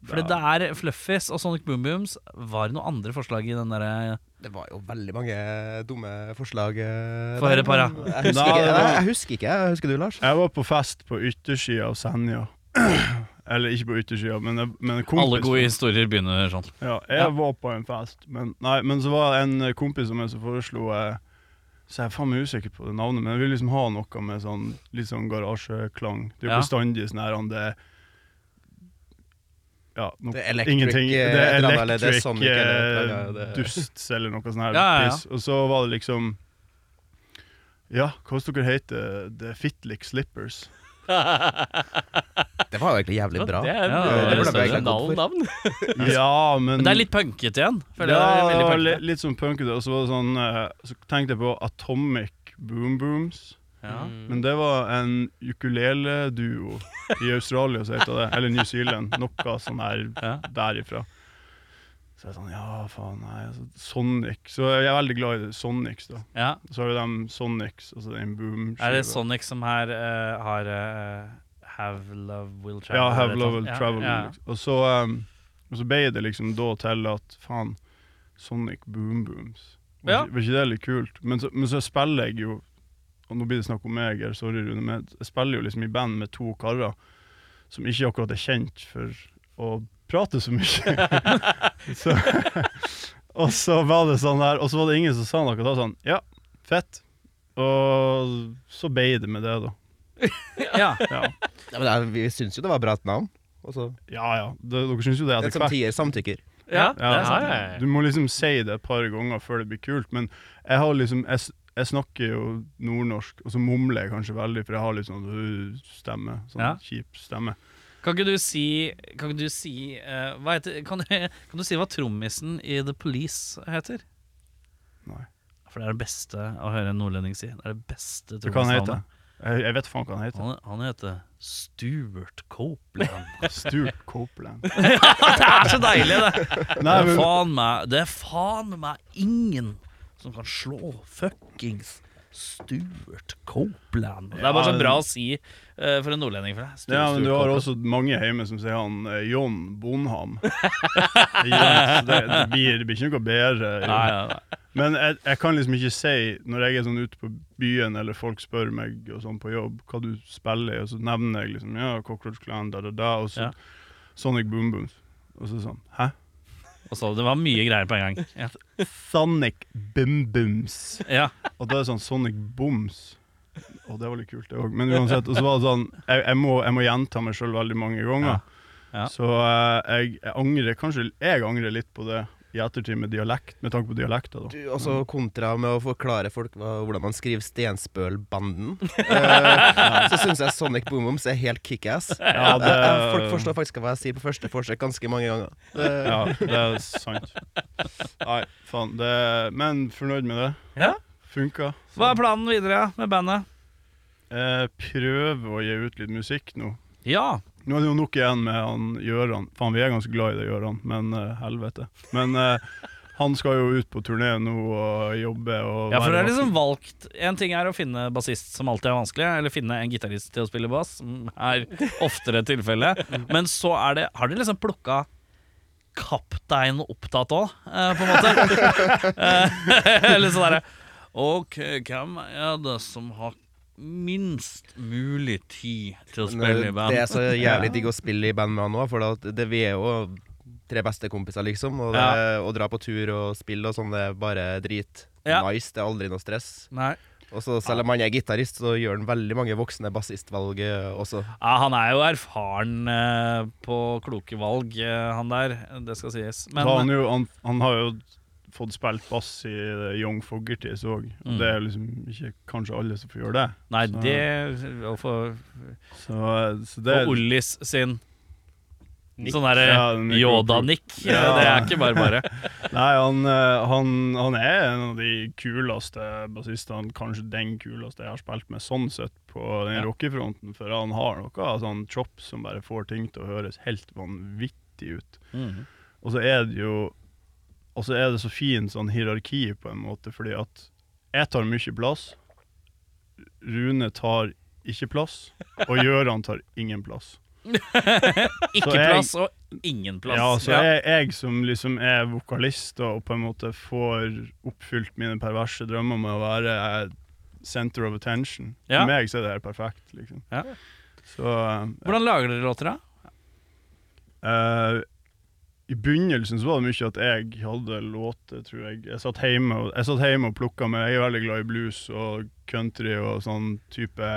[SPEAKER 1] For det der Fluffies og Sonic Boom Booms var det noen andre forslag i den eh, derre
[SPEAKER 4] Det var jo veldig mange dumme forslag. eh,
[SPEAKER 1] Få høre,
[SPEAKER 4] der,
[SPEAKER 1] para.
[SPEAKER 4] men Jeg husker
[SPEAKER 3] Nei,
[SPEAKER 4] ikke.
[SPEAKER 3] det var-
[SPEAKER 4] Jeg, jeg husker ikke. Jeg husker du, Lars?
[SPEAKER 3] Jeg var på fest på yttersida av Senja. <clears throat> Eller ikke på yttersida, men, men en kompis
[SPEAKER 1] Alle gode historier begynner sånn.
[SPEAKER 3] Ja, jeg
[SPEAKER 1] Ja.
[SPEAKER 3] var på en fest, men, nei, men så var det en eh, kompis som jeg som foreslo eh, Så jeg er faen meg usikker på det navnet, men jeg vil liksom ha noe med sånn litt sånn garasjeklang. Det er jo
[SPEAKER 1] Ja.
[SPEAKER 3] bestandig sånn her han, det Ja, no,
[SPEAKER 4] Det er electric,
[SPEAKER 3] ingenting. Det
[SPEAKER 4] eh,
[SPEAKER 3] er
[SPEAKER 4] et eller annet, eller det er
[SPEAKER 3] electric
[SPEAKER 4] Sonic, eller et eller
[SPEAKER 3] eh,
[SPEAKER 4] annet, det-
[SPEAKER 3] dusts eller noe sånn her
[SPEAKER 1] Ja, ja, ja.
[SPEAKER 3] piss. Og så var det liksom Ja, hva hvis dere heter The Fitlick Slippers?
[SPEAKER 4] Det var jo egentlig jævlig bra.
[SPEAKER 2] Det er
[SPEAKER 1] Ja,
[SPEAKER 2] det
[SPEAKER 1] det
[SPEAKER 2] er
[SPEAKER 1] ble
[SPEAKER 2] et
[SPEAKER 4] veldig
[SPEAKER 2] originalt
[SPEAKER 4] godt for.
[SPEAKER 2] navn.
[SPEAKER 3] Ja,
[SPEAKER 1] Men det er litt punkete igjen. Føler
[SPEAKER 3] ja,
[SPEAKER 1] jeg, det er veldig
[SPEAKER 3] litt,
[SPEAKER 1] punkete.
[SPEAKER 3] litt sånn punkete. Og så var det sånn eh, Så tenkte jeg på Atomic Boom Booms.
[SPEAKER 1] Ja.
[SPEAKER 3] Men det var en ukulele-duo i Australia, så heter det. Eller New Zealand. Noe sånn her
[SPEAKER 1] Ja.
[SPEAKER 3] derifra. Så jeg er sånn Ja, faen, nei. Altså, Sonic. Så jeg er veldig glad i det. Sonics, da.
[SPEAKER 1] Ja.
[SPEAKER 3] Så har jo dem Sonics, altså den boom
[SPEAKER 1] Er det Sonic som her eh, har eh, Have Love Will Travel?
[SPEAKER 3] Ja, Have
[SPEAKER 1] eller
[SPEAKER 3] Love
[SPEAKER 1] noe
[SPEAKER 3] Will
[SPEAKER 1] sånt?
[SPEAKER 3] Travel.
[SPEAKER 1] Ja, ja.
[SPEAKER 3] liksom. Og så um, og så ble det liksom da til at faen, Sonic Boom Booms. Var,
[SPEAKER 1] Ja.
[SPEAKER 3] ikke, var ikke det litt kult? Men så, men så spiller jeg jo og nå blir det snakk om meg, eller sorry, Rune, men jeg spiller jo liksom i band med to karer som ikke akkurat er kjent for å prate
[SPEAKER 1] <laughs>
[SPEAKER 3] så mye. så, og så var det sånn der, og så var det ingen som sa noe da, sånn, ja, fett. Og så ble det med det da.
[SPEAKER 1] Ja.
[SPEAKER 3] Ja,
[SPEAKER 4] Ja, men det er- vi syns jo det var bra et navn. Og så
[SPEAKER 3] ja, ja. Det, dere synes jo det
[SPEAKER 4] En
[SPEAKER 3] etter
[SPEAKER 4] som
[SPEAKER 3] hvert.
[SPEAKER 4] tier samtykker.
[SPEAKER 2] Ja,
[SPEAKER 3] Ja, Du må liksom si det et par ganger før det blir kult, men jeg har liksom jeg, s- jeg snakker jo nordnorsk, og så mumler jeg kanskje veldig, for jeg har litt sånn øh, stemme. Sånn
[SPEAKER 1] Ja.
[SPEAKER 3] kjip stemme.
[SPEAKER 1] Kan ikke du si, kan ikke du si eh, hva heter, kan, <laughs> du, kan du si hva trommisen i The Police heter?
[SPEAKER 3] Nei.
[SPEAKER 1] For det er det beste å høre en nordlending si. Det er det beste
[SPEAKER 3] Hva kan han hete?
[SPEAKER 1] trommisnavnet.
[SPEAKER 3] Jeg, jeg vet faen hva han heter.
[SPEAKER 1] Han, han heter Stuart Copeland.
[SPEAKER 3] Stuart Copeland.
[SPEAKER 1] det er så deilig, det! Det
[SPEAKER 3] <laughs> Nei,
[SPEAKER 1] er
[SPEAKER 3] men,
[SPEAKER 1] faen meg, det er faen meg ingen som kan slå fuckings Stuart Copeland. Det er bare
[SPEAKER 3] Ja,
[SPEAKER 1] så bra å si eh, for en nordlending. For deg. Stuart,
[SPEAKER 3] ja, men
[SPEAKER 1] Stuart
[SPEAKER 3] du har
[SPEAKER 1] Copeland.
[SPEAKER 3] også mange hjemme som sier han eh, John
[SPEAKER 1] <laughs>
[SPEAKER 3] Bonham. Yes, det, det, blir, det blir ikke noe bedre.
[SPEAKER 1] Nei, nei, nei.
[SPEAKER 3] Men jeg, jeg kan liksom ikke si, når jeg er sånn ute på byen, eller folk spør meg og sånn på jobb, hva du spiller, i, og så nevner jeg liksom, ja, Cockroach Clan, da, da, da, og
[SPEAKER 1] Ja.
[SPEAKER 3] så Sonic Boom Booms. Og så sånn, hæ?
[SPEAKER 1] Og så, det var mye greier på
[SPEAKER 3] <laughs>
[SPEAKER 1] en gang. Ja.
[SPEAKER 3] Sonic Boom Booms.
[SPEAKER 1] ja.
[SPEAKER 3] Og da er det sånn Sonic Booms. Og det var litt kult, det òg. Men uansett, og så var det sånn, jeg, jeg, må, jeg må gjenta meg sjøl veldig mange ganger.
[SPEAKER 1] Ja. Ja.
[SPEAKER 3] Så eh, jeg, jeg angrer kanskje jeg angrer litt på det i ettertid med dialekt, med tanke på dialekter, da.
[SPEAKER 4] Du, også kontra med å forklare folk hva, hvordan man skriver Stenspølbanden. Eh, så syns jeg Sonic Boom Booms er helt kickass.
[SPEAKER 3] Ja, det-
[SPEAKER 4] Eh, Folk forstår faktisk hva jeg sier på første forsøk ganske mange ganger.
[SPEAKER 3] Ja, det er sant. Nei, faen. Det, men fornøyd med det.
[SPEAKER 1] Ja.
[SPEAKER 3] Funka.
[SPEAKER 1] Hva er planen videre med bandet?
[SPEAKER 3] Eh, prøve å gi ut litt musikk nå.
[SPEAKER 1] Ja.
[SPEAKER 3] Nå er det jo nok igjen med han Gjøran. Faen, vi er ganske glad i det Gjøran, men eh, helvete. Men eh, han skal jo ut på turné nå og jobbe og
[SPEAKER 1] ja, for det
[SPEAKER 3] være
[SPEAKER 1] er liksom valgt En ting er å finne bassist, som alltid er vanskelig, eller finne en gitarist til å spille bass, som er oftere
[SPEAKER 4] <laughs>
[SPEAKER 1] tilfelle Men så er det Har dere liksom plukka kaptein opptatt òg, eh, på en måte? <laughs> Eh, Eller sånn derre OK, hvem er det som har minst mulig tid til å spille i
[SPEAKER 4] Men, eh, det er
[SPEAKER 1] band?
[SPEAKER 4] så
[SPEAKER 1] <laughs>
[SPEAKER 4] jævlig digg å spille i band med han òg, for da- det, vi er jo tre beste kompiser, liksom. Og det, å dra på tur og spille og sånn, det er bare drit.
[SPEAKER 1] Ja.
[SPEAKER 4] Nice, det er aldri noe stress.
[SPEAKER 1] Nei.
[SPEAKER 4] Og så Selv om han er gitarist, så gjør han veldig mange voksne bassistvalg eh, også.
[SPEAKER 1] Ja, han er jo erfaren eh, på kloke valg, eh, han der. Det skal sies. Men,
[SPEAKER 3] Da han, jo, han, han har jo fått spilt bass i eh, Young Foggerties òg.
[SPEAKER 1] Mm.
[SPEAKER 3] Det er jo liksom ikke kanskje alle som får gjøre det.
[SPEAKER 1] Nei,
[SPEAKER 3] Så-
[SPEAKER 1] det Og for,
[SPEAKER 3] Så, eh, så det
[SPEAKER 1] for Ollis sin
[SPEAKER 2] Nick.
[SPEAKER 1] sånn derre
[SPEAKER 3] Ja, den er
[SPEAKER 1] Yoda-nikk.
[SPEAKER 3] Ja.
[SPEAKER 1] Det er ikke bare bare.
[SPEAKER 3] Nei, han, eh, han, han er en av de kuleste bassistene, kanskje den kuleste jeg har spilt med sånn sett på den
[SPEAKER 1] Ja.
[SPEAKER 3] rockefronten, for han har noe sånn chops som bare får ting til å høres helt vanvittig ut. Og så er det jo Og så er det så fin sånn hierarki på en måte, fordi at jeg tar mye plass, Rune tar ikke plass, og Gjøran tar ingen plass.
[SPEAKER 1] Ikke
[SPEAKER 3] <laughs> Så jeg-
[SPEAKER 1] plass og ingen plass.
[SPEAKER 3] Ja, så
[SPEAKER 1] Ja.
[SPEAKER 3] Jeg, jeg som liksom er vokalist da, og på en måte får oppfylt mine perverse drømmer med å være eh, center of attention.
[SPEAKER 1] Ja.
[SPEAKER 3] For meg så er det helt perfekt, liksom.
[SPEAKER 1] Ja.
[SPEAKER 3] Så eh,
[SPEAKER 1] Hvordan lager dere låter, da?
[SPEAKER 3] eh, I begynnelsen så var det mye at jeg hadde låter, tror jeg. Jeg satt hjemme og, jeg satt hjemme og plukka med Jeg er veldig glad i blues og country og sånn type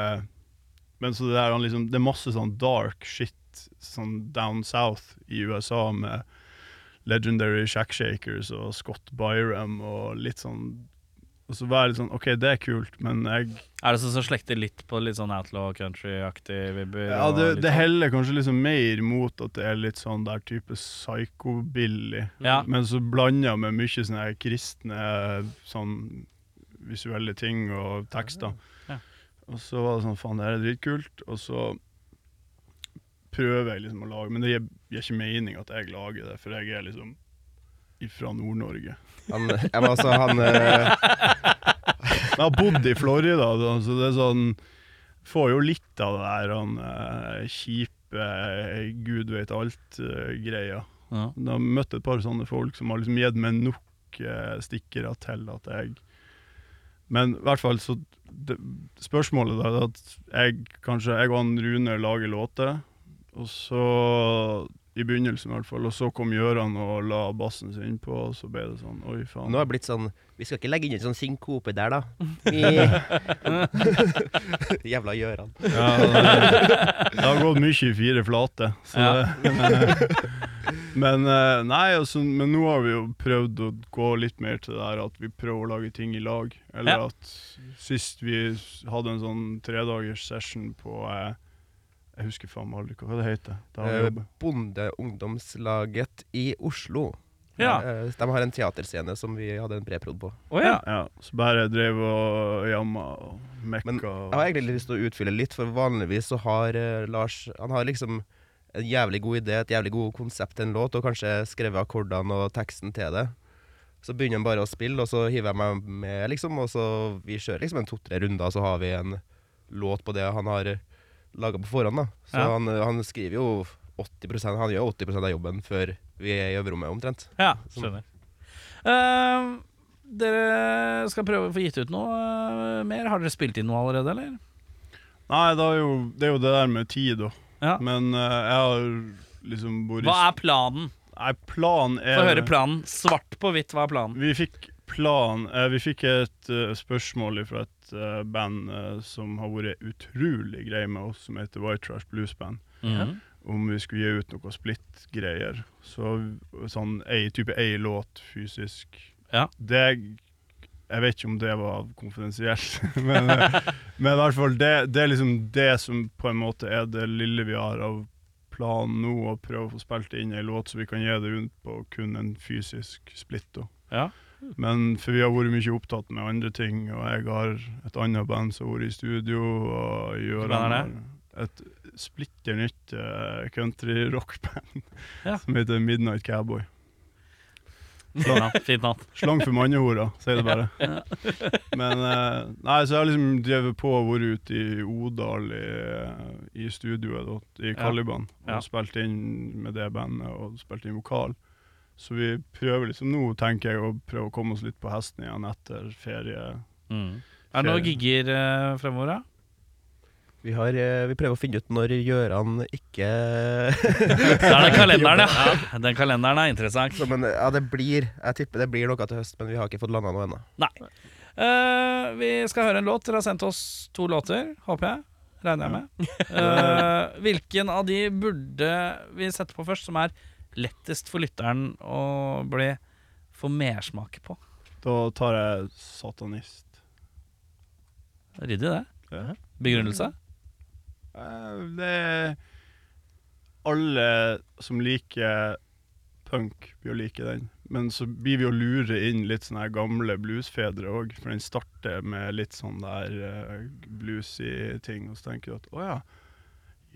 [SPEAKER 3] Men så det der han liksom Det er masse sånn dark shit sånn down south i USA med legendary shackshakers og Scott Byram og litt sånn Og så var jeg litt sånn OK, det er kult, men jeg
[SPEAKER 1] Er det sånn som slekter litt på litt sånn outlaw country-aktig vibber?
[SPEAKER 3] Ja,
[SPEAKER 1] og
[SPEAKER 3] det,
[SPEAKER 1] litt
[SPEAKER 3] det
[SPEAKER 1] sånn?
[SPEAKER 3] heller kanskje liksom mer mot at det er litt sånn der type psycho-billy.
[SPEAKER 1] sånn? ja.
[SPEAKER 3] Men så blander jeg med mye sånne her kristne sånn visuelle ting og tekster.
[SPEAKER 1] Ja.
[SPEAKER 3] Og så var det sånn, faen, det her er dritkult. Og så prøver jeg liksom å lage, men det gir, gir ikke mening at jeg lager det, for jeg er liksom fra Nord-Norge.
[SPEAKER 4] Han, ja, men altså, han eh,
[SPEAKER 3] Men jeg har bodd i Florida, da, så det er sånn Får jo litt av det der han eh, kjipe eh, gud eh, veit alt-greia.
[SPEAKER 1] Ja.
[SPEAKER 3] Jeg har møtt et par sånne folk som har liksom gitt meg nok eh, stikkere til at jeg Men i hvert fall, så det, Spørsmålet da er at jeg kanskje Jeg og han Rune lager låter, og så I begynnelsen, i hvert fall. Og så kom Gjøran og la bassen sin på, og så ble det sånn Oi, faen.
[SPEAKER 4] Nå har det blitt sånn Vi skal ikke legge inn en sånn synkope der, da. Vi... <laughs> Jævla Gjøran.
[SPEAKER 3] ja,
[SPEAKER 1] <laughs>
[SPEAKER 3] det, det har gått mye i fire flate. Så
[SPEAKER 1] Ja.
[SPEAKER 3] det, men, eh, men, eh, nei, altså, men nå har vi jo prøvd å gå litt mer til det her at vi prøver å lage ting i lag. Eller
[SPEAKER 1] Ja.
[SPEAKER 3] at sist vi s- hadde en sånn tredagers session på eh, Jeg husker faen meg aldri hva det heter. Da har vi
[SPEAKER 4] Eh,
[SPEAKER 3] jobbet.
[SPEAKER 4] Bondeungdomslaget i Oslo.
[SPEAKER 1] Ja.
[SPEAKER 4] Eh, De har en teaterscene som vi hadde en preprod på.
[SPEAKER 1] Å ja.
[SPEAKER 3] Ja, så bare drev og jamma og
[SPEAKER 4] Men
[SPEAKER 3] mekka.
[SPEAKER 4] jeg
[SPEAKER 3] og-
[SPEAKER 4] har egentlig lyst til å utfylle litt, for vanligvis så har eh, Lars Han har liksom en jævlig god idé, et jævlig god konsept til en låt, og kanskje skrevet akkordene og teksten til det. Så begynner han bare å spille, og så hiver jeg meg med, liksom, og så vi kjører liksom en to-tre runder, så har vi en låt på det han har laga på forhånd, da. Så
[SPEAKER 1] Ja.
[SPEAKER 4] han, han skriver jo 80 Han gjør 80 av jobben før vi er i øverrommet, omtrent.
[SPEAKER 1] ja skjønner. Eh, dere skal prøve å få gitt ut noe eh, mer. Har dere spilt inn noe allerede, eller?
[SPEAKER 3] Nei, det er, jo, det er jo det der med tid, da.
[SPEAKER 1] Ja.
[SPEAKER 3] Men eh, jeg har liksom vært i-
[SPEAKER 1] Hva er planen?
[SPEAKER 3] Nei, planen er
[SPEAKER 1] Få høre planen. Svart på hvitt, hva er planen?
[SPEAKER 3] Vi fikk plan eh, Vi fikk et eh, spørsmål fra et eh, band eh, som har vært utrolig greie med oss, som heter White Trash Blues Band,
[SPEAKER 1] Mm.
[SPEAKER 3] om vi skulle gi ut noe splitt-greier. Så sånn ei, type ei låt fysisk.
[SPEAKER 1] Ja.
[SPEAKER 3] Det Jeg vet ikke om det var konfidensielt, <laughs> men, eh, men i hvert fall det, det er liksom det som på en måte er det lille vi har av planen nå, å prøve å få spilt inn ei låt så vi kan gi det rundt på kun en fysisk splitt. da.
[SPEAKER 1] Ja.
[SPEAKER 3] Men for vi har vært mye opptatt med andre ting, og jeg har et annet band som har vært i studio. Og
[SPEAKER 1] Hvilket
[SPEAKER 3] Gøran
[SPEAKER 1] band er
[SPEAKER 3] har et splitter nytt eh, country-rockband
[SPEAKER 1] Ja.
[SPEAKER 3] <laughs> som heter Midnight Cowboy.
[SPEAKER 1] Fint navn, Fint navn.
[SPEAKER 3] Slang for mannehora, sier det bare. <laughs> Men eh, nei, så jeg har liksom drevet på og vært ute i Odal i, i studioet, da, i Caliban,
[SPEAKER 1] Ja.
[SPEAKER 3] og spilt inn med det bandet og spilt inn vokal. Så vi prøver liksom nå, tenker jeg, å prøve å komme oss litt på hesten igjen etter ferie.
[SPEAKER 1] Er det noen
[SPEAKER 3] Ferie.
[SPEAKER 1] gigger eh, fremover, <laughs> da?
[SPEAKER 4] Vi, har, eh, vi prøver å finne ut når Gjøran ikke <laughs>
[SPEAKER 1] Der er det kalenderen, <laughs> ja. Den kalenderen er interessant.
[SPEAKER 4] Så, men ja, det blir Jeg tipper det blir noe til høst, men vi har ikke fått landa noe ennå.
[SPEAKER 1] Eh, vi skal høre en låt. Dere har sendt oss to låter, håper jeg. Regner jeg med. <laughs> Eh, hvilken av de burde vi sette på først, som er lettest for lytteren å bli få mersmak på?
[SPEAKER 3] Da tar jeg Satanist.
[SPEAKER 1] Ryddig, det.
[SPEAKER 3] Ja.
[SPEAKER 1] Begrunnelse?
[SPEAKER 3] Eh, Det er Alle som liker punk, blir å like den. Men så blir vi å lure inn litt sånne her gamle bluesfedre òg, for den starter med litt sånn der eh, bluesy ting, og så tenker du at å ja,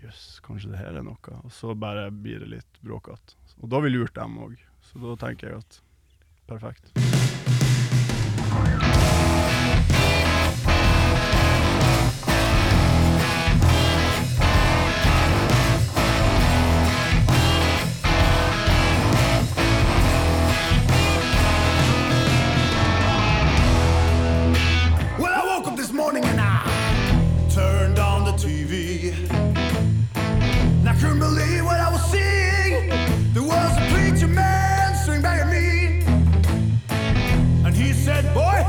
[SPEAKER 3] jøss, kanskje det her er noe. Og så bare blir det litt bråkete. Og da har vi lurt dem òg, så da tenker jeg at perfekt.
[SPEAKER 5] Well, I woke up this morning and I turned on the TV. And I couldn't believe what I was seeing. There was a preacher man sitting back at me. And he said, Boy,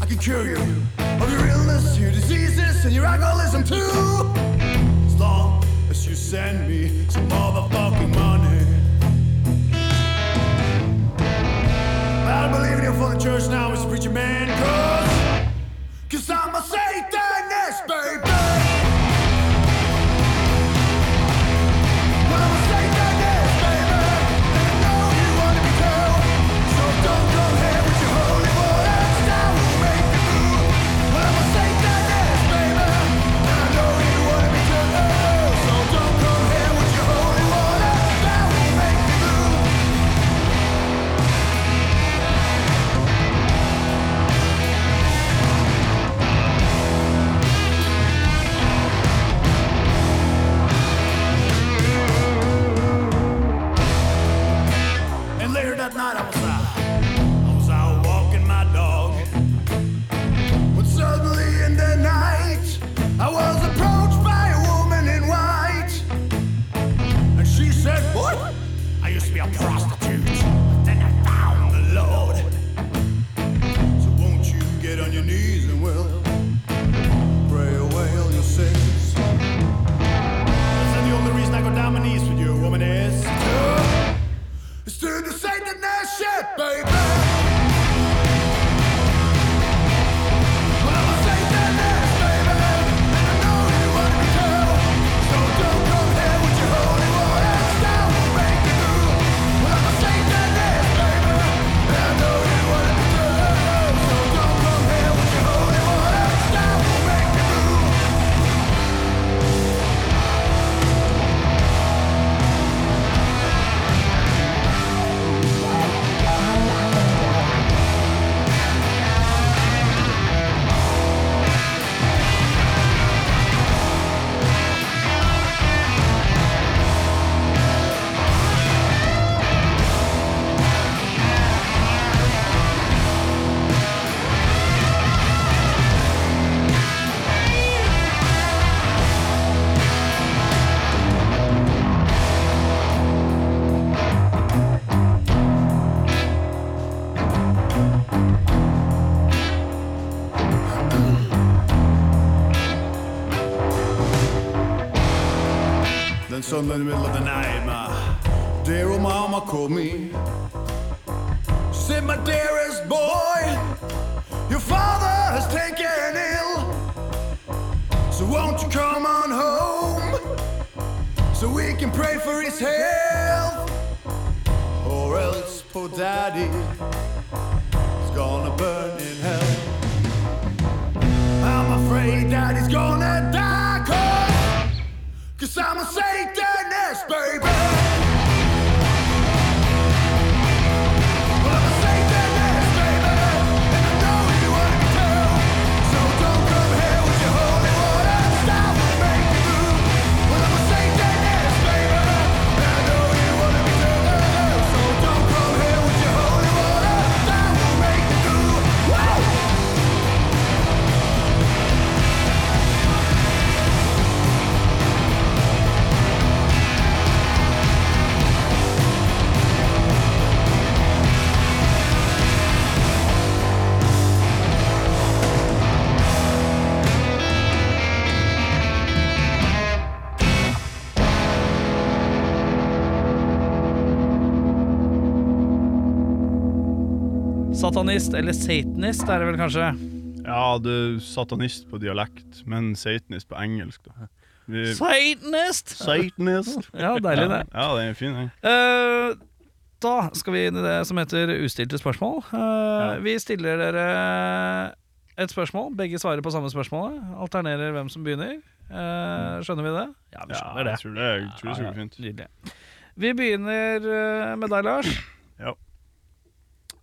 [SPEAKER 5] I can cure you of your illness, your diseases, and your alcoholism too. As long as you send me some motherfucking money. I don't believe in your fucking church now, Mr. Preacher Man, cause. Cause I'm a Satanist, baby! Well, I'm a Satanist, baby! And I know you wanna be too. So don't go here with your holy words, I will make you blue. Well, I'm a Satanist, baby! And I know you wanna be too. So don't go here with your holy words, I will make you blue. And later that night I was out, I was out walking my dog. When Sunday in the middle of the night. My dear old mama called me. She said, My dearest boy, your father has taken ill. So won't you come on home so we can pray for his health? Or else poor daddy is gonna burn in hell. I'm afraid that he's gonna die cold. Cause I'm a Satanist, baby. Well, I'm a Satanist, baby, and I know you wanna be too. So don't come here with your holy water, 'cause I will make you blue. Well, I'm a Satanist, baby, and I know you wanna be too. So don't come here with your holy water, 'cause I will make you blue. Whoa!
[SPEAKER 1] Satanist, eller satanist er det vel kanskje?
[SPEAKER 3] Ja, du satanist på dialekt, men satanist på engelsk, da. Vi-
[SPEAKER 1] Satanist!
[SPEAKER 3] Satanist.
[SPEAKER 1] Ja, deilig <laughs> det.
[SPEAKER 3] Ja, ja, den er fin, den.
[SPEAKER 1] Eh, da skal vi inn i det som heter ustilte spørsmål. Eh, Vi stiller dere et spørsmål. Begge svarer på samme spørsmål. Alternerer hvem som begynner. Eh, skjønner vi det? Ja, vi
[SPEAKER 3] Ja,
[SPEAKER 1] skjønner det.
[SPEAKER 3] jeg tror det, jeg tror det skal bli fint.
[SPEAKER 1] Nydelig. Vi begynner eh, med deg, Lars.
[SPEAKER 3] Ja.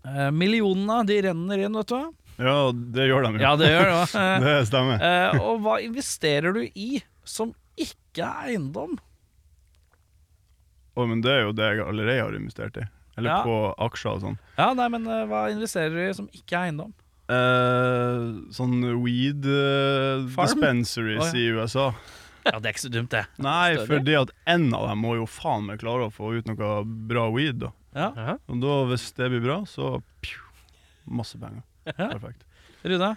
[SPEAKER 1] Eh, millionene de renner inn, vet du.
[SPEAKER 3] ja, det gjør de jo.
[SPEAKER 1] Ja, det
[SPEAKER 3] <laughs>
[SPEAKER 1] gjør det. Eh, <laughs>
[SPEAKER 3] Det stemmer.
[SPEAKER 1] eh, og hva investerer du i som ikke er eiendom?
[SPEAKER 3] Å, men det er jo det jeg allerede har investert i. Eller
[SPEAKER 1] Ja.
[SPEAKER 3] på aksjer og sånn.
[SPEAKER 1] Ja, nei, men eh, Hva investerer du i som ikke er eiendom?
[SPEAKER 3] Eh, sånn weed eh,
[SPEAKER 1] Farm? Å,
[SPEAKER 3] dispensaries
[SPEAKER 1] ja.
[SPEAKER 3] i USA.
[SPEAKER 1] Ja, Det er ikke så dumt, <laughs> det.
[SPEAKER 3] Nei,
[SPEAKER 1] Større?
[SPEAKER 3] fordi at en av dem må jo faen meg klare å få ut noe bra weed, da.
[SPEAKER 1] Ja,
[SPEAKER 2] Ja.
[SPEAKER 3] Og da, hvis det blir bra, så pju, masse penger. Perfekt.
[SPEAKER 1] Rune?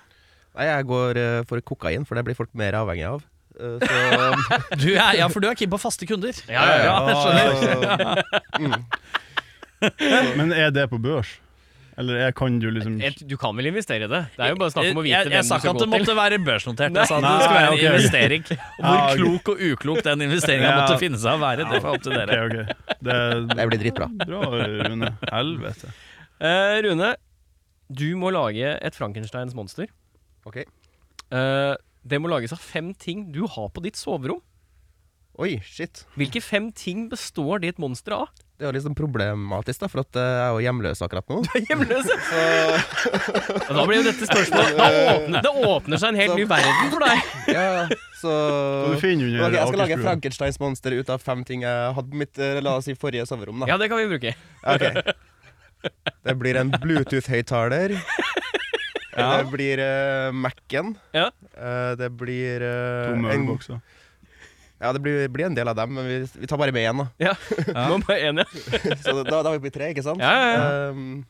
[SPEAKER 4] Nei, jeg går eh, for kokain, for det blir folk mer avhengig av. Eh, Så
[SPEAKER 1] Du er, ja, for du er keen på faste kunder.
[SPEAKER 2] Ja, ja, ja.
[SPEAKER 1] jeg skjønner.
[SPEAKER 3] Men er det på børs? Eller er, kan du liksom
[SPEAKER 2] Et, du kan vel investere i det? Det er jo bare snakk om å vite
[SPEAKER 1] jeg,
[SPEAKER 2] hvem
[SPEAKER 1] jeg
[SPEAKER 2] du
[SPEAKER 1] sa ikke
[SPEAKER 2] skal
[SPEAKER 1] at det
[SPEAKER 2] gå til.
[SPEAKER 1] måtte være børsnotert.
[SPEAKER 2] Nei.
[SPEAKER 1] Jeg sa at
[SPEAKER 3] Nei,
[SPEAKER 1] det skulle være en
[SPEAKER 3] ok.
[SPEAKER 1] investering. Og hvor
[SPEAKER 3] Ja, ok.
[SPEAKER 1] klok og uklok den investeringa
[SPEAKER 3] Ja.
[SPEAKER 1] måtte finne seg å være, det får opp til
[SPEAKER 3] Ok,
[SPEAKER 1] dere.
[SPEAKER 3] ok. Det er
[SPEAKER 4] <laughs> det blir dritbra.
[SPEAKER 3] bra, Rune. Helvete.
[SPEAKER 2] Eh, Rune, du må lage et Frankensteins monster.
[SPEAKER 4] Ok.
[SPEAKER 2] Eh, det må lages av fem ting du har på ditt soverom.
[SPEAKER 4] Oi, shit.
[SPEAKER 2] Hvilke fem ting består ditt monster av?
[SPEAKER 4] Det er jo liksom problematisk, da, for at eh, jeg er jo hjemløs akkurat nå.
[SPEAKER 2] Hjemløse! Da blir jo dette spørsmålet Da åpner, det åpner seg en helt ny verden for deg.
[SPEAKER 4] <laughs> Ja, så
[SPEAKER 3] Kan du finne under
[SPEAKER 4] Ok, Jeg skal lage
[SPEAKER 3] Akersbrua?
[SPEAKER 4] Frankensteins monster ut av fem ting jeg hadde på mitt eh, la oss si, forrige soverom. da
[SPEAKER 2] Ja, det kan vi bruke.
[SPEAKER 4] Ok. Det blir en Bluetooth-høyttaler. Det blir eh, Mac-en.
[SPEAKER 2] Ja.
[SPEAKER 4] Eh, det blir eh,
[SPEAKER 3] To
[SPEAKER 4] en,
[SPEAKER 3] mølbokser.
[SPEAKER 4] Ja, det blir, blir en del av dem, men vi, vi tar bare med én, da.
[SPEAKER 2] Ja. Nå er jeg enig.
[SPEAKER 4] <laughs> Så da, da har vi blitt tre, ikke sant?
[SPEAKER 2] Ja, ja,
[SPEAKER 4] Ehm,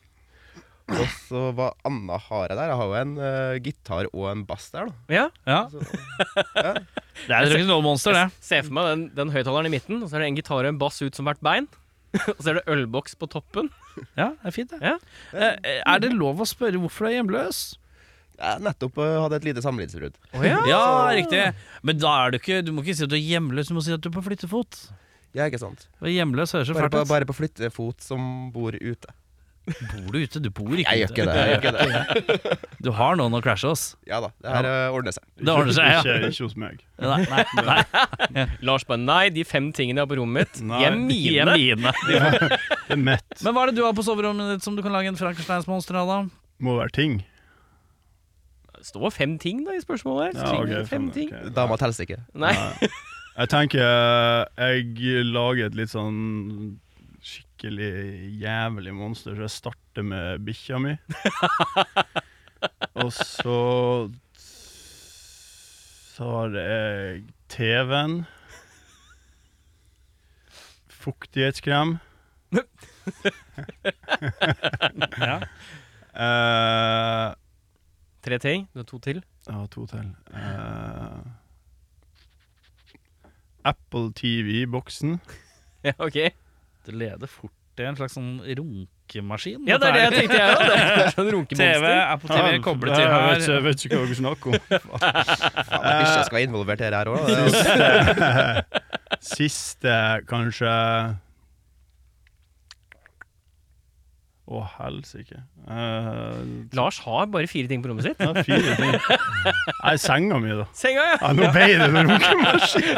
[SPEAKER 4] og så hva anna har jeg der? Jeg har jo en eh, gitar og en bass der, da.
[SPEAKER 2] Ja.
[SPEAKER 1] Ja.
[SPEAKER 4] Ja.
[SPEAKER 1] Det er et rock'n'roll-monster, det.
[SPEAKER 2] Se for meg den, den høyttaleren i midten, og så er det en gitar og en bass ut som hvert bein. <laughs> Og så er det ølboks på toppen.
[SPEAKER 1] Ja, det er fint, det.
[SPEAKER 2] Ja.
[SPEAKER 1] Eh, Er det lov å spørre hvorfor du er hjemløs?
[SPEAKER 4] Jeg nettopp eh, hadde et lite samlivsbrudd.
[SPEAKER 1] Ja, riktig. Men da er du ikke Du må ikke si at du er hjemløs, du må si at du er på flyttefot.
[SPEAKER 4] Ja, ikke sant?
[SPEAKER 1] For Hjemløs høres så
[SPEAKER 4] Bare
[SPEAKER 1] fælt
[SPEAKER 4] på,
[SPEAKER 1] ut.
[SPEAKER 4] bare på flyttefot som bor ute.
[SPEAKER 1] Bor du ute? Du bor ikke
[SPEAKER 4] Jeg gjør ikke
[SPEAKER 1] ute.
[SPEAKER 4] det. Jeg gjør ikke det.
[SPEAKER 1] Du har noen å krasje oss.
[SPEAKER 4] <laughs> Ja da, det her eh, ordner seg.
[SPEAKER 1] Det ordner seg, ja.
[SPEAKER 3] Ikke, ikke hos meg.
[SPEAKER 1] Nei, nei, nei.
[SPEAKER 2] Lars bare Nei, de fem tingene jeg har på rommet mitt, de er
[SPEAKER 3] Nei.
[SPEAKER 1] De er
[SPEAKER 2] mine.
[SPEAKER 1] mine.
[SPEAKER 3] Det er mett.
[SPEAKER 1] Men hva er det du har på soverommet ditt som du kan lage en Frankensteins-monster av, da?
[SPEAKER 3] Må være ting.
[SPEAKER 2] Det står fem ting da i spørsmålet her.
[SPEAKER 3] Ja, ok,
[SPEAKER 2] Ting, fem
[SPEAKER 3] faen,
[SPEAKER 2] ting.
[SPEAKER 3] ok.
[SPEAKER 4] Dama teller ikke.
[SPEAKER 2] Nei.
[SPEAKER 3] Jeg tenker eh, jeg lager et litt sånn skikkelig jævlig monster, så jeg starter med bikkja mi. Og så Så har jeg TV-en. Fuktighetskrem.
[SPEAKER 1] Ja.
[SPEAKER 3] <laughs> Eh,
[SPEAKER 2] Tre ting. Du har to til.
[SPEAKER 3] Jeg har to til. Eh, Apple TV-boksen.
[SPEAKER 2] Ja, ok.
[SPEAKER 1] Det leder fort til en slags sånn runkemaskin.
[SPEAKER 2] Ja, det er <laughs> det jeg
[SPEAKER 1] dette her. <laughs>
[SPEAKER 2] tenkte jeg òg. Sånn
[SPEAKER 1] TV,
[SPEAKER 2] runkemonster.
[SPEAKER 1] Apple TV koblet til
[SPEAKER 3] Jeg
[SPEAKER 1] her.
[SPEAKER 3] vet, ikke- jeg vet ikke hva dere snakker
[SPEAKER 1] <laughs>
[SPEAKER 3] om.
[SPEAKER 4] Faen, jeg visste jeg skulle være involvert i det her òg. <laughs>
[SPEAKER 3] Siste, kanskje Å, helsike. Eh,
[SPEAKER 2] Lars har bare fire ting på rommet sitt.
[SPEAKER 3] det er fire
[SPEAKER 1] <laughs>
[SPEAKER 3] ting. Nei, senga mi, da.
[SPEAKER 2] Senga, ja!
[SPEAKER 3] Ja, nå ble det en runkemaskin.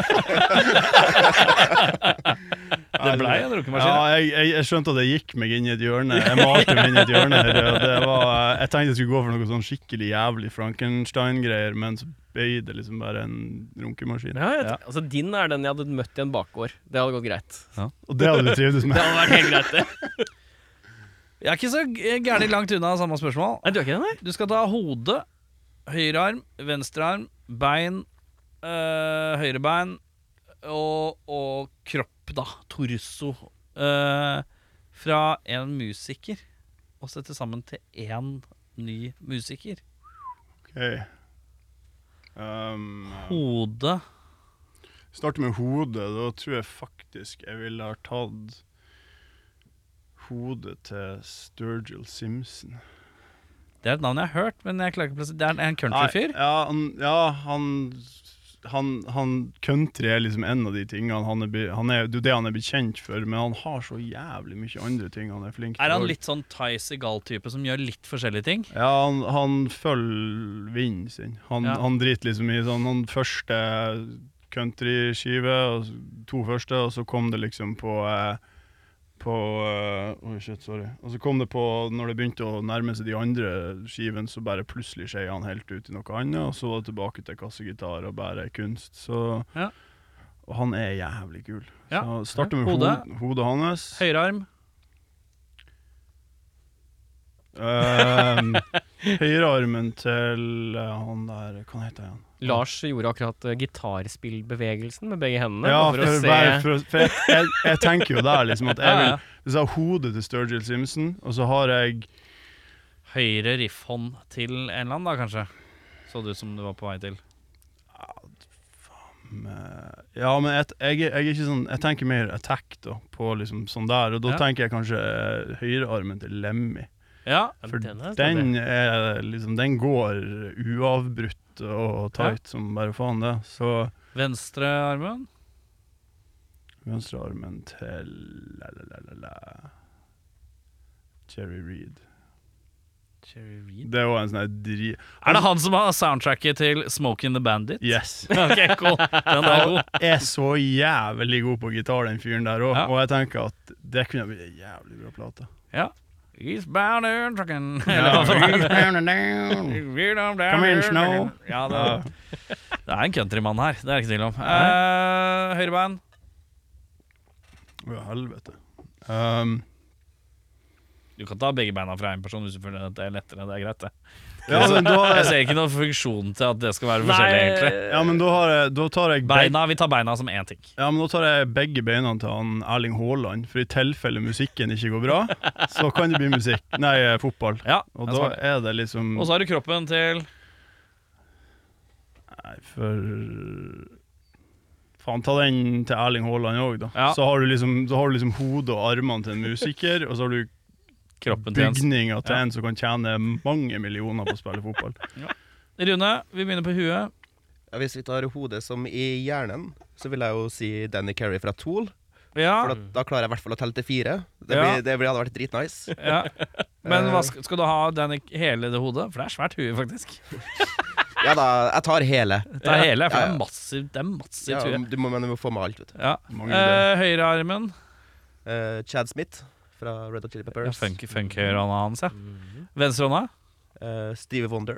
[SPEAKER 1] Det ble en runkemaskin.
[SPEAKER 3] Ja, jeg, jeg, jeg skjønte at jeg gikk meg inn i et hjørne. Jeg malte meg inn i et hjørne. her, og Det var, jeg tenkte jeg skulle gå for noe sånn skikkelig jævlig Frankenstein-greier, men så ble det liksom bare en runkemaskin.
[SPEAKER 2] ja, jeg- Altså, din er den jeg hadde møtt i en bakgård. Det hadde gått greit.
[SPEAKER 3] Og det hadde du
[SPEAKER 1] <laughs>
[SPEAKER 3] trivdes
[SPEAKER 2] Det
[SPEAKER 3] med.
[SPEAKER 2] hadde vært helt greit, det.
[SPEAKER 1] Jeg er ikke så gærent langt unna samme spørsmål.
[SPEAKER 2] Nei, du er ikke det, nei?
[SPEAKER 1] Du skal ta hode, høyre arm, venstre arm, bein, øh, høyre bein og, og kropp, da. Torso. øh, fra én musiker og sette sammen til én ny musiker.
[SPEAKER 3] Okay. Um,
[SPEAKER 1] Hode
[SPEAKER 3] Starte med hodet. Da tror jeg faktisk jeg ville ha tatt hodet til Sturgill Simpson.
[SPEAKER 1] Det er et navn jeg har hørt, men jeg klarer ikke å plassere Det er en countryfyr.
[SPEAKER 3] Nei, Ja, han, ja han, han, han Country er liksom en av de tingene han er, be- han er, det er jo det han er bekjent for, men han har så jævlig mye andre ting han er flink
[SPEAKER 1] Er han
[SPEAKER 3] også.
[SPEAKER 1] litt sånn Ty Segal-type som gjør litt forskjellige ting?
[SPEAKER 3] Ja, han, han følger vinden sin. Han,
[SPEAKER 1] Ja.
[SPEAKER 3] han driter liksom i sånn Han første countryskive, og s- to første, og så kom det liksom på eh, på eh, Oi, shit, sorry. Og så kom det på, når det begynte å nærme seg de andre skivene, så bare plutselig skeier han helt ut i noe annet, og så var det tilbake til kassegitar og bare kunst. Så
[SPEAKER 1] Ja.
[SPEAKER 3] Og han er jævlig kul.
[SPEAKER 1] Ja.
[SPEAKER 3] Så starter med
[SPEAKER 1] Hodet.
[SPEAKER 3] hod- hodet hans.
[SPEAKER 1] Høyre arm.
[SPEAKER 3] Um, Høyrearmen til eh, han der Hva heter han?
[SPEAKER 2] Lars gjorde akkurat eh, gitarspillbevegelsen med begge hendene.
[SPEAKER 3] Ja,
[SPEAKER 2] bare for
[SPEAKER 3] for,
[SPEAKER 2] å
[SPEAKER 3] bare
[SPEAKER 2] se
[SPEAKER 3] for, å- for jeg, jeg, jeg tenker jo der liksom at jeg
[SPEAKER 1] Ja,
[SPEAKER 3] vil
[SPEAKER 1] ja.
[SPEAKER 3] Hvis jeg har hodet til Sturgill Simpson, og så har jeg
[SPEAKER 1] Høyre riffhånd til en eller annen, da, kanskje. Så det ut som du var på vei til.
[SPEAKER 3] mm, eh, Ja, men jeg, jeg, er- jeg er ikke sånn Jeg tenker mer attack, da, på liksom sånn der. Og da
[SPEAKER 1] Ja.
[SPEAKER 3] tenker jeg kanskje eh, høyrearmen til Lemmy.
[SPEAKER 1] Ja,
[SPEAKER 3] For
[SPEAKER 2] Den er
[SPEAKER 3] den er liksom Den går uavbrutt og tight som bare faen, det. Så
[SPEAKER 1] Venstre armen.
[SPEAKER 3] Venstrearmen til la, la, la, la, la. Jerry Reed.
[SPEAKER 1] Cherry Reed.
[SPEAKER 3] Det var en sånn her dri...
[SPEAKER 1] Er det han som har soundtracket til Smoking the Bandit?
[SPEAKER 3] Yes.
[SPEAKER 1] <laughs> ok, cool. Den er god.
[SPEAKER 3] <laughs> Er så jævlig god på gitar, den fyren der òg.
[SPEAKER 1] Ja.
[SPEAKER 3] Og jeg tenker at det kunne blitt en jævlig bra
[SPEAKER 1] <laughs>
[SPEAKER 3] plate.
[SPEAKER 1] Ja. He's bound and trucking.
[SPEAKER 3] <laughs> Ja.
[SPEAKER 1] Come
[SPEAKER 3] Come in, Snow.
[SPEAKER 1] Ja, det,
[SPEAKER 3] Ja. <laughs>
[SPEAKER 1] det er en countrymann her, det er det ikke tvil om. Uh,
[SPEAKER 3] Eh.
[SPEAKER 1] Høyrebein.
[SPEAKER 3] Å, helvete. Um,
[SPEAKER 1] Du kan ta begge beina fra én person hvis du føler at det er lettere. Det er greit, det.
[SPEAKER 3] ja, men
[SPEAKER 1] Jeg
[SPEAKER 3] da,
[SPEAKER 1] ser ikke noen funksjon til at det skal være
[SPEAKER 2] Nei,
[SPEAKER 1] forskjellig, egentlig.
[SPEAKER 3] ja, men da, har jeg, da tar jeg beg-
[SPEAKER 1] Beina, Vi tar beina som én ting.
[SPEAKER 3] Ja, men Da tar jeg begge beina til han Erling Haaland, for i tilfelle musikken ikke går bra, så kan det bli musikk. Nei, eh, fotball.
[SPEAKER 1] Ja,
[SPEAKER 3] Og
[SPEAKER 1] det er
[SPEAKER 3] da
[SPEAKER 1] smart.
[SPEAKER 3] er det liksom
[SPEAKER 1] Og så har du kroppen til
[SPEAKER 3] Nei, for Faen, ta den til Erling Haaland òg, da.
[SPEAKER 1] Ja.
[SPEAKER 3] Så, har du liksom, så har du liksom hodet og armene til en musiker, og så har du
[SPEAKER 1] kroppen til Jens.
[SPEAKER 3] bygninga til
[SPEAKER 1] Ja.
[SPEAKER 3] en som kan tjene mange millioner på å spille fotball.
[SPEAKER 1] Rune, vi begynner på huet.
[SPEAKER 4] Ja, hvis vi tar hodet som i hjernen, så vil jeg jo si Danny Carey fra Tool.
[SPEAKER 1] Ja,
[SPEAKER 4] For da,
[SPEAKER 2] Mm.
[SPEAKER 4] da klarer jeg i hvert fall å telle til fire. Det, blir,
[SPEAKER 1] Ja.
[SPEAKER 4] det blir, hadde vært dritnice.
[SPEAKER 1] ja. Men hva skal, skal du ha den i hele det hodet? For det er svært hue, faktisk.
[SPEAKER 4] Ja da, jeg tar hele.
[SPEAKER 1] Det er hele, for
[SPEAKER 4] Ja,
[SPEAKER 1] det er
[SPEAKER 4] ja.
[SPEAKER 1] massivt. Det er
[SPEAKER 4] Ja,
[SPEAKER 1] massivt hue.
[SPEAKER 4] du må, men du må få med alt, vet du.
[SPEAKER 1] Ja.
[SPEAKER 3] Mange ideer.
[SPEAKER 1] Eh, høyrearmen.
[SPEAKER 4] Eh, Chad Smith fra Red Hot Chili
[SPEAKER 1] Ja,
[SPEAKER 4] Peppers.
[SPEAKER 1] funk, funk høyrehånda hans, ja. Venstrehånda.
[SPEAKER 4] Eh, Stevie Wonder.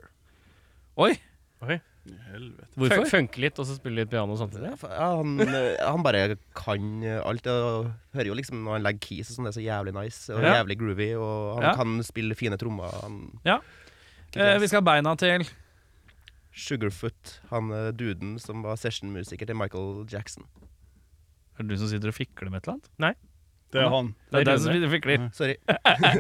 [SPEAKER 1] Oi,
[SPEAKER 3] Helvete.
[SPEAKER 1] hvorfor?
[SPEAKER 2] Fun- Funke litt, og så spille litt piano samtidig.
[SPEAKER 4] Ja, fa- ja, han, eh, han bare kan eh, alt. Og hører jo liksom når han legger keys og sånn, det er så jævlig nice og
[SPEAKER 1] Ja.
[SPEAKER 4] jævlig groovy. Og han
[SPEAKER 1] Ja.
[SPEAKER 4] kan spille fine trommer. Han,
[SPEAKER 1] Ja. Eh, vi skal ha beina til
[SPEAKER 4] Sugarfoot, han eh, duden som var sessionmusiker til Michael Jackson.
[SPEAKER 1] Er det du som sitter og fikler med et eller annet?
[SPEAKER 3] Det er han.
[SPEAKER 1] Det er
[SPEAKER 2] Det er
[SPEAKER 1] deg som sitter og fikler.
[SPEAKER 4] Sorry.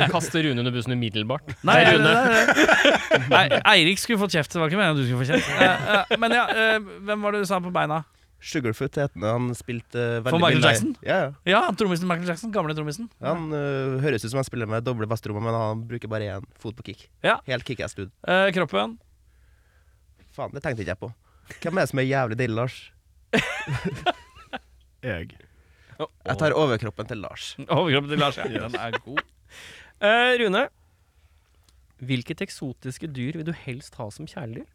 [SPEAKER 2] Kaste Rune under bussen umiddelbart.
[SPEAKER 1] Nei, det er Rune. <laughs> Nei, Eirik skulle fått kjeft. Det var ikke meningen at du skulle få kjeft. Eh, eh, men ja, eh, hvem var det du sa på beina?
[SPEAKER 4] Sugarfoot het han. Han spilte eh, veldig
[SPEAKER 1] For Michael
[SPEAKER 4] mye nei-
[SPEAKER 1] Jackson?
[SPEAKER 4] Ja, ja.
[SPEAKER 1] Ja, trommisen Michael Jackson. Gamle trommisen.
[SPEAKER 4] Han eh, høres ut som han spiller med doble basstrommer, men han bruker bare én fot på kick.
[SPEAKER 1] Ja.
[SPEAKER 4] Helt kickass dude.
[SPEAKER 1] Eh, kroppen.
[SPEAKER 4] Faen, det tenkte ikke jeg på. Hvem er det som er jævlig deilig, Lars?
[SPEAKER 3] Jeg.
[SPEAKER 4] Jeg tar overkroppen til Lars.
[SPEAKER 1] Overkroppen til Lars. Ja, den er god.
[SPEAKER 2] Eh, Rune, hvilket eksotiske dyr vil du helst ha som kjæledyr?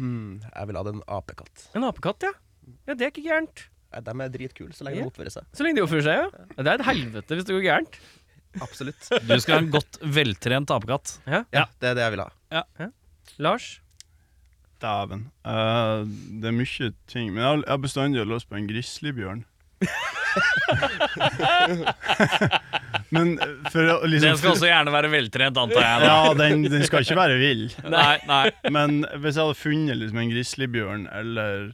[SPEAKER 4] Hmm, jeg ville hatt en apekatt.
[SPEAKER 2] En apekatt, ja. Ja, Det er ikke gærent.
[SPEAKER 4] Eh, De er dritkule så lenge de oppfører seg.
[SPEAKER 2] Så lenge de oppfører seg, ja. ja. Det er et helvete hvis det går gærent.
[SPEAKER 4] Absolutt.
[SPEAKER 1] Du skal ha en godt veltrent apekatt.
[SPEAKER 4] Ja, det er det jeg vil ha.
[SPEAKER 2] Lars?
[SPEAKER 3] Dæven. Eh, det er mye ting. Men jeg har- jeg har bestandig lyst på en
[SPEAKER 1] <laughs>
[SPEAKER 3] grizzlybjørn. <laughs> Men eh, for å liksom
[SPEAKER 1] Den skal også gjerne være veltrent, antar jeg. da.
[SPEAKER 3] Ja, den, den skal ikke være vill.
[SPEAKER 1] <laughs> Nei, nei.
[SPEAKER 3] Men hvis jeg hadde funnet liksom en grizzlybjørn eller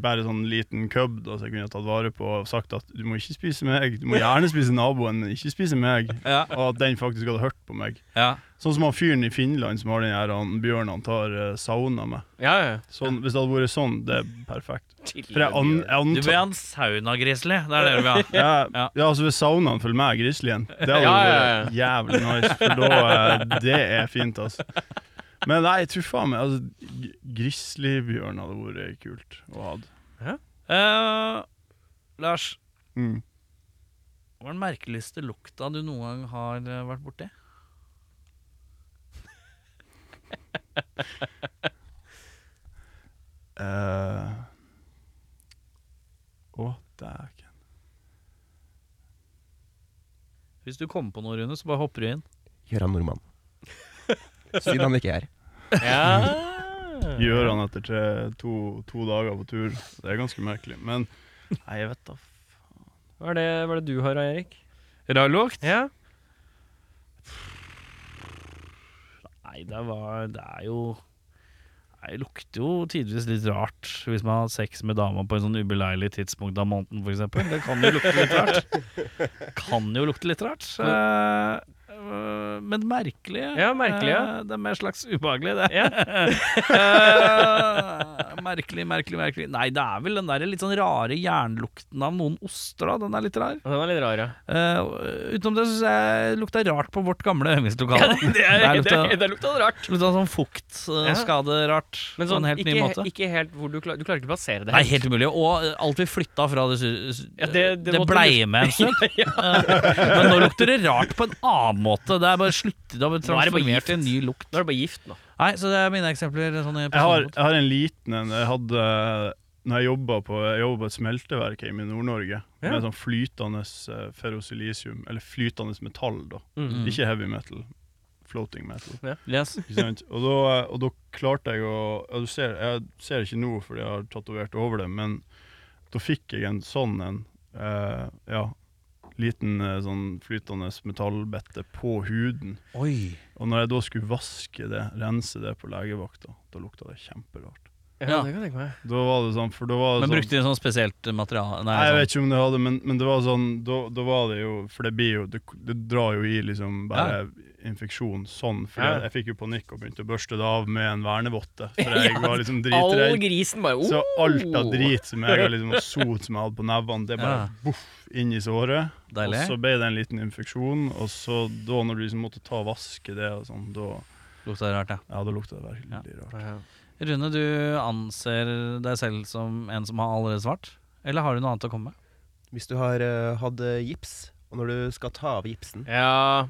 [SPEAKER 3] bare sånn liten cub da, så jeg kunne tatt vare på og sagt at du må ikke spise meg, du må gjerne spise naboen, men ikke spise meg.
[SPEAKER 1] Ja,
[SPEAKER 3] Og at den faktisk hadde hørt på meg.
[SPEAKER 1] ja.
[SPEAKER 3] Sånn som han fyren i Finland som har den her han bjørnen han tar eh, sauna med.
[SPEAKER 2] Ja, ja.
[SPEAKER 3] Sånn, hvis det hadde vært sånn, det er perfekt. For jeg, an,
[SPEAKER 2] Bjørn.
[SPEAKER 3] jeg
[SPEAKER 1] Du vil
[SPEAKER 3] antar
[SPEAKER 1] ha en saunagrisli. Det er det du vil ha.
[SPEAKER 3] ja,
[SPEAKER 1] Ja.
[SPEAKER 3] ja, altså hvis saunaen følger med grizzlyen, det hadde
[SPEAKER 2] Ja, ja,
[SPEAKER 3] vært jævlig nice. For da eh, Det er fint, altså. Men nei, jeg tror faen meg altså, g- Grizzlybjørn hadde vært kult å ha.
[SPEAKER 1] Eh, Lars,
[SPEAKER 3] Mm.
[SPEAKER 1] hva er den merkeligste lukta du noen gang har eh, vært borti?
[SPEAKER 3] Eh. Å, dæken.
[SPEAKER 1] Hvis du kommer på noe, Rune, så bare hopper du inn. <laughs>
[SPEAKER 4] Gøran Nordmann. Siden han ikke er her.
[SPEAKER 2] ja.
[SPEAKER 3] Gjør han etter tre, to, to dager på tur. Det er ganske merkelig. Men nei, jeg vet da
[SPEAKER 2] Hva er det, hva er det du har, Erik?
[SPEAKER 1] Rar lukt?
[SPEAKER 2] Ja.
[SPEAKER 1] Nei, det, var, det er jo Nei, Det lukter jo tidvis litt rart hvis man har sex med dama på en sånn ubeleilig tidspunkt av måneden, f.eks. Det kan jo lukte litt rart. Kan jo lukte litt rart. Eh, eh, men merkelig.
[SPEAKER 2] Ja, merkelig, ja.
[SPEAKER 1] Eh, det er mer slags ubehagelig, det.
[SPEAKER 2] <laughs> Ja.
[SPEAKER 1] Eh, <laughs> merkelig, merkelig, merkelig. Nei, det er vel den der litt sånn rare jernlukten av noen oster, da. Den er litt rar.
[SPEAKER 2] Den var litt rar, ja.
[SPEAKER 1] Eh, utenom det syns jeg det lukta rart på vårt gamle
[SPEAKER 2] <laughs>
[SPEAKER 1] øvingslokale. Der
[SPEAKER 2] <laughs> det,
[SPEAKER 1] lukta-
[SPEAKER 2] det lukta rart.
[SPEAKER 1] Lukta sånn fukt, eh,
[SPEAKER 2] Ja.
[SPEAKER 1] skaderart,
[SPEAKER 2] Men
[SPEAKER 1] på
[SPEAKER 2] sånn,
[SPEAKER 1] en helt
[SPEAKER 2] ikke,
[SPEAKER 1] ny måte.
[SPEAKER 2] ikke helt hvor du, klar, du klarer ikke å plassere det
[SPEAKER 1] Nei, helt umulig. Og eh, alt vi flytta fra det, sy- s-
[SPEAKER 2] Ja, det- det
[SPEAKER 1] det
[SPEAKER 2] måtte
[SPEAKER 1] blei med en stund.
[SPEAKER 2] <laughs>
[SPEAKER 1] Eh, <laughs> Men nå lukter det rart på en annen måte. Det er bare sluttet å bli
[SPEAKER 2] Nå er det bare
[SPEAKER 1] transformert til en ny lukt.
[SPEAKER 2] Nå er det bare gift, nå.
[SPEAKER 1] Nei, så det er mine eksempler. Sånn i
[SPEAKER 3] Jeg har,
[SPEAKER 1] personlighet.
[SPEAKER 3] jeg har en liten en jeg hadde når jeg jobba på, jeg jobbet på et smelteverk hjemme i Nord-Norge.
[SPEAKER 2] Ja.
[SPEAKER 3] Med sånn flytende eh, ferrosilisium, eller flytende metall, da.
[SPEAKER 2] Mm.
[SPEAKER 3] Ikke heavy metal. Floating
[SPEAKER 2] <laughs>
[SPEAKER 3] metal.
[SPEAKER 1] Yes.
[SPEAKER 3] Ikke sant? Og da, og da klarte jeg å ja, du ser, Jeg ser ikke nå fordi jeg har tatovert over det, men da fikk jeg en sånn en. eh, ja. Liten eh, sånn flytende metallbette på huden.
[SPEAKER 1] Oi.
[SPEAKER 3] Og når jeg da skulle vaske det, rense det på legevakta, da lukta det kjemperart.
[SPEAKER 2] Ja,
[SPEAKER 1] Ja.
[SPEAKER 2] det kan jeg tenke meg.
[SPEAKER 3] Da var det sånn, for da var det
[SPEAKER 1] Men
[SPEAKER 3] sånn
[SPEAKER 1] brukte de sånn spesielt materiale? Nei, sånn
[SPEAKER 3] Nei, jeg vet ikke om det hadde, men, men det var sånn Da, da var det jo For det blir jo Det, det drar jo i liksom bare infeksjon sånn. For
[SPEAKER 2] Ja.
[SPEAKER 3] jeg, jeg fikk jo panikk og begynte å børste det av med en vernevotte. For jeg var liksom
[SPEAKER 2] All
[SPEAKER 3] dritredd.
[SPEAKER 2] grisen bare oh!
[SPEAKER 3] Så alt av drit som jeg har liksom og sot som jeg hadde på nevene, det bare
[SPEAKER 1] Ja.
[SPEAKER 3] boff inn i såret.
[SPEAKER 1] Deilig.
[SPEAKER 3] Og så ble det en liten infeksjon, og så da når du liksom måtte ta og vaske det og sånn, da
[SPEAKER 1] Lukta rart, ja.
[SPEAKER 3] Ja, da lukta det veldig rart.
[SPEAKER 2] Ja.
[SPEAKER 1] Rune, du anser deg selv som en som har allerede svart? Eller har du noe annet å komme med?
[SPEAKER 4] Hvis du har eh, hatt eh, gips, og når du skal ta av gipsen
[SPEAKER 2] Ja,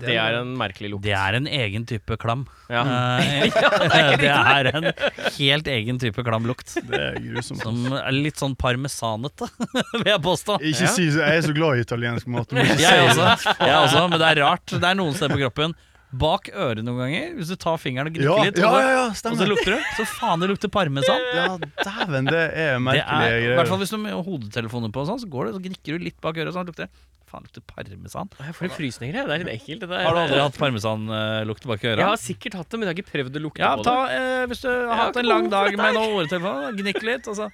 [SPEAKER 2] det er en merkelig lukt.
[SPEAKER 1] Det er en egen type klam.
[SPEAKER 2] Ja.
[SPEAKER 1] Eh, det er en helt egen type klam lukt.
[SPEAKER 3] Det er grusomt. altså.
[SPEAKER 1] Som er litt sånn parmesanete, <laughs> vil jeg påstå.
[SPEAKER 3] Ikke
[SPEAKER 2] Ja.
[SPEAKER 3] si så, Jeg er så glad i italiensk mat. Du må
[SPEAKER 1] Jeg
[SPEAKER 3] ikke si det.
[SPEAKER 1] også, jeg også, men det er rart. Det er noen steder på kroppen. Bak øret noen ganger, hvis du tar fingeren og
[SPEAKER 3] Ja,
[SPEAKER 1] gnikker litt,
[SPEAKER 3] ja,
[SPEAKER 1] og,
[SPEAKER 3] ja, ja,
[SPEAKER 1] så, og
[SPEAKER 3] stemmer.
[SPEAKER 1] så lukter det, så faen det lukter parmesan.
[SPEAKER 3] Ja, dæven, det er
[SPEAKER 1] Det
[SPEAKER 3] merkelige
[SPEAKER 1] er, I hvert fall hvis
[SPEAKER 3] greier.
[SPEAKER 1] du har hodetelefoner på, og sånn, så går det, så gnikker du litt bak øret, og sånn lukter det. Faen, det lukter parmesan.
[SPEAKER 2] Jeg får litt frysninger, jeg. Det er litt ekkelt. Det der.
[SPEAKER 1] Har du aldri hatt parmesanlukt bak øret?
[SPEAKER 2] Jeg har sikkert hatt det, men jeg har ikke prøvd å lukte
[SPEAKER 1] Ja,
[SPEAKER 2] på
[SPEAKER 1] ta, eh, hvis du har hatt en lang dag med noen ordtelefoner, gnikk litt, og så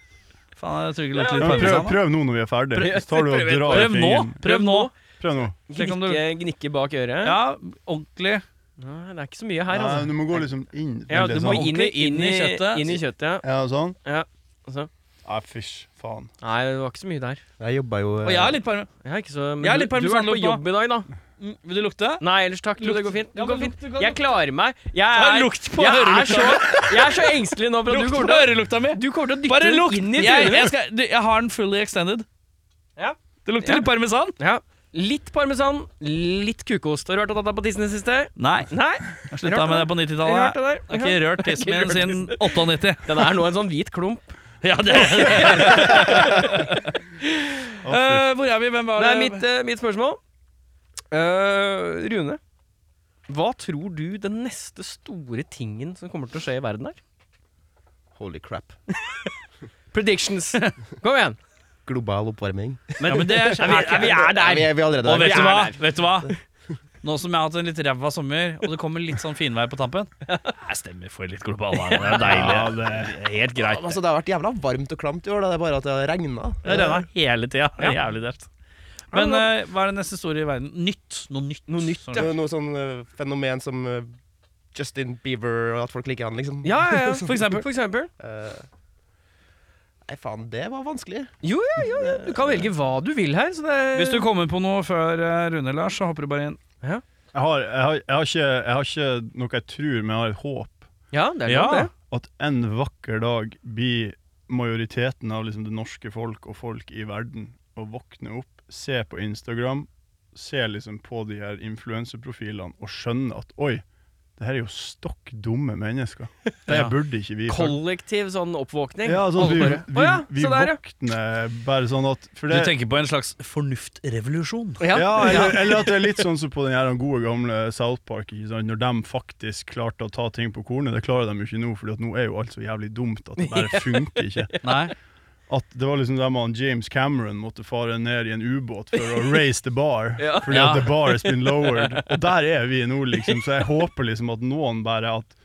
[SPEAKER 1] Faen, jeg tror ikke det lukter
[SPEAKER 3] Ja,
[SPEAKER 1] litt
[SPEAKER 3] men prøv,
[SPEAKER 1] parmesan. da.
[SPEAKER 3] prøv nå når vi er ferdig.
[SPEAKER 2] Prøv-
[SPEAKER 3] Så tar du og
[SPEAKER 2] prøv-
[SPEAKER 3] drar
[SPEAKER 1] Prøv nå!
[SPEAKER 3] fingeren.
[SPEAKER 1] Prøv nå!
[SPEAKER 3] Prøv nå.
[SPEAKER 2] det.
[SPEAKER 1] Sjekk om du-
[SPEAKER 2] Gnikke, gnikke bak øret.
[SPEAKER 1] Ja, ordentlig.
[SPEAKER 2] Nei, det er ikke så mye her,
[SPEAKER 3] Nei,
[SPEAKER 2] altså.
[SPEAKER 3] du må gå liksom inn.
[SPEAKER 2] Ja,
[SPEAKER 3] veldig
[SPEAKER 2] du må
[SPEAKER 3] sånn.
[SPEAKER 2] inn i,
[SPEAKER 1] Ordentlig
[SPEAKER 2] inn i kjøttet. Inn i kjøttet, ja.
[SPEAKER 3] Ja, sånn?
[SPEAKER 2] ja. Altså.
[SPEAKER 3] Nei, fysj, faen.
[SPEAKER 2] Nei, det var ikke så mye der.
[SPEAKER 4] Jeg jobba jo eh,
[SPEAKER 1] Og jeg er litt parm...
[SPEAKER 2] Jeg er ikke så, men
[SPEAKER 1] Jeg er litt
[SPEAKER 2] du, du har vært på
[SPEAKER 1] permisjonslov
[SPEAKER 2] jobb i dag, da.
[SPEAKER 1] Mm, Vil du lukte?
[SPEAKER 2] Nei, ellers takk. Du, det går fint.
[SPEAKER 1] Ja,
[SPEAKER 2] Du går
[SPEAKER 1] men
[SPEAKER 2] fint.
[SPEAKER 1] lukt, du kan
[SPEAKER 2] Jeg
[SPEAKER 1] lukte.
[SPEAKER 2] klarer meg. Jeg
[SPEAKER 1] Ta
[SPEAKER 2] er,
[SPEAKER 1] lukt på
[SPEAKER 2] jeg er, så,
[SPEAKER 1] ørelukta.
[SPEAKER 2] <laughs> jeg er så engstelig nå for at du
[SPEAKER 1] Lukt
[SPEAKER 2] kommer
[SPEAKER 1] på
[SPEAKER 2] til å
[SPEAKER 1] ørelukta mi!
[SPEAKER 2] Du kommer til å dytte
[SPEAKER 1] Bare
[SPEAKER 2] den
[SPEAKER 1] lukt!
[SPEAKER 2] inn i
[SPEAKER 1] Jeg, jeg,
[SPEAKER 2] trynet.
[SPEAKER 1] skal, du, jeg har den fully extended.
[SPEAKER 2] Ja.
[SPEAKER 1] Det lukter
[SPEAKER 2] Ja.
[SPEAKER 1] litt parmesan.
[SPEAKER 2] Ja. Litt parmesan, litt kukost. Har du hørt at det er på tissen i det siste?
[SPEAKER 1] Nei.
[SPEAKER 2] Nei?
[SPEAKER 1] Jeg slutta
[SPEAKER 2] Rørt
[SPEAKER 1] med
[SPEAKER 2] det.
[SPEAKER 1] det på 90-tallet.
[SPEAKER 2] Har du hørt det der?
[SPEAKER 1] Jeg har ikke rørt tissen min siden 98.
[SPEAKER 2] Den er nå en sånn hvit klump.
[SPEAKER 1] Ja, det
[SPEAKER 3] Å, fy.
[SPEAKER 1] Eh, Hvor er vi? Hvem var
[SPEAKER 2] Det
[SPEAKER 1] det?
[SPEAKER 2] er mitt, eh, mitt spørsmål. Eh, Rune, hva tror du den neste store tingen som kommer til å skje i verden er?
[SPEAKER 4] Holy crap.
[SPEAKER 2] Predictions. <laughs> Kom igjen.
[SPEAKER 4] Global oppvarming.
[SPEAKER 1] ja, <laughs> men det er,
[SPEAKER 2] Er vi, er vi er
[SPEAKER 4] Ja, vi,
[SPEAKER 2] der.
[SPEAKER 4] er- vi er allerede
[SPEAKER 1] Og
[SPEAKER 4] der.
[SPEAKER 1] vet du
[SPEAKER 2] er
[SPEAKER 1] hva?
[SPEAKER 2] der.
[SPEAKER 1] Vet du hva? Nå som jeg har hatt en litt ræva sommer, og det kommer litt sånn finvær på tampen Jeg stemmer for litt global varme. Det er deilig.
[SPEAKER 3] Ja, det
[SPEAKER 1] Det er Helt greit.
[SPEAKER 4] Altså, det har vært jævla varmt og klamt i år. Da. Det er bare at det har regna.
[SPEAKER 1] Det renner hele tida. Det er Jævlig dølt. Men eh, hva er det neste store i verden? Nytt. Noe nytt. Noe nytt
[SPEAKER 4] Det er jo noe sånn eh, fenomen som eh, Justin Bieber og at folk liker han, liksom.
[SPEAKER 2] Ja, ja, ja. For eksempel. For eksempel.
[SPEAKER 4] <laughs> Eh, nei, faen, det var vanskelig.
[SPEAKER 2] Jo, ja, ja, ja. Du kan velge hva du vil her. Så det er
[SPEAKER 1] Hvis du kommer på noe før eh, Rune, Lars, så hopper du bare inn.
[SPEAKER 3] Jeg har, jeg, har, jeg, har ikke, jeg har ikke noe jeg tror, men jeg har et håp.
[SPEAKER 2] Ja, det er
[SPEAKER 1] Ja.
[SPEAKER 2] lov, det.
[SPEAKER 3] At en vakker dag blir majoriteten av liksom det norske folk og folk i verden å våkne opp, se på Instagram, se liksom på de her influenseprofilene og skjønne at oi, det her er jo stokk dumme mennesker. Det
[SPEAKER 1] Ja.
[SPEAKER 3] burde ikke vi
[SPEAKER 2] Kollektiv sånn oppvåkning.
[SPEAKER 3] Ja, sånn,
[SPEAKER 2] Alle
[SPEAKER 3] vi,
[SPEAKER 2] bare,
[SPEAKER 3] vi,
[SPEAKER 2] «Å ja,
[SPEAKER 3] vi
[SPEAKER 2] se der, ja.
[SPEAKER 3] våkner bare sånn at for
[SPEAKER 1] Du
[SPEAKER 3] det,
[SPEAKER 1] tenker på en slags fornuftrevolusjon?
[SPEAKER 2] Ja,
[SPEAKER 3] Ja, eller, eller at det er litt sånn som på den her gode gamle South Park. Ikke sant? Når de faktisk klarte å ta ting på kornet. Det klarer de jo ikke nå, for nå er jo alt så jævlig dumt at det
[SPEAKER 2] <laughs>
[SPEAKER 3] bare funker ikke.
[SPEAKER 1] Nei.
[SPEAKER 3] At Det var liksom der man James Cameron måtte fare ned i en ubåt for
[SPEAKER 2] <laughs>
[SPEAKER 3] å raise the bar.
[SPEAKER 2] Ja.
[SPEAKER 3] Fordi
[SPEAKER 1] Ja.
[SPEAKER 3] at the bar has been
[SPEAKER 2] <laughs>
[SPEAKER 3] lowered. Og der er vi nå, liksom. Så jeg håper liksom at noen bare at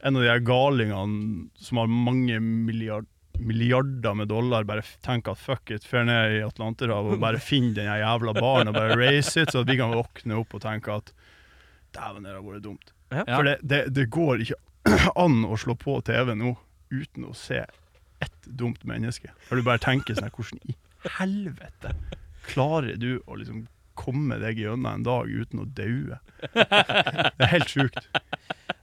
[SPEAKER 3] en av de her galingene som har mange milliard, milliarder med dollar, bare f- tenker at fuck it, fer ned i Atlanterhavet og bare finner den her jævla baren og bare raise it, så at vi kan våkne opp og tenke at dæven, det har vært dumt.
[SPEAKER 2] Ja.
[SPEAKER 3] For det, det, det går ikke <clears throat> an å slå på TV nå uten å se ett dumt menneske. Når du bare tenker sånn her, hvordan i helvete klarer du å liksom komme deg gjennom en dag uten å daue? Det er helt sjukt.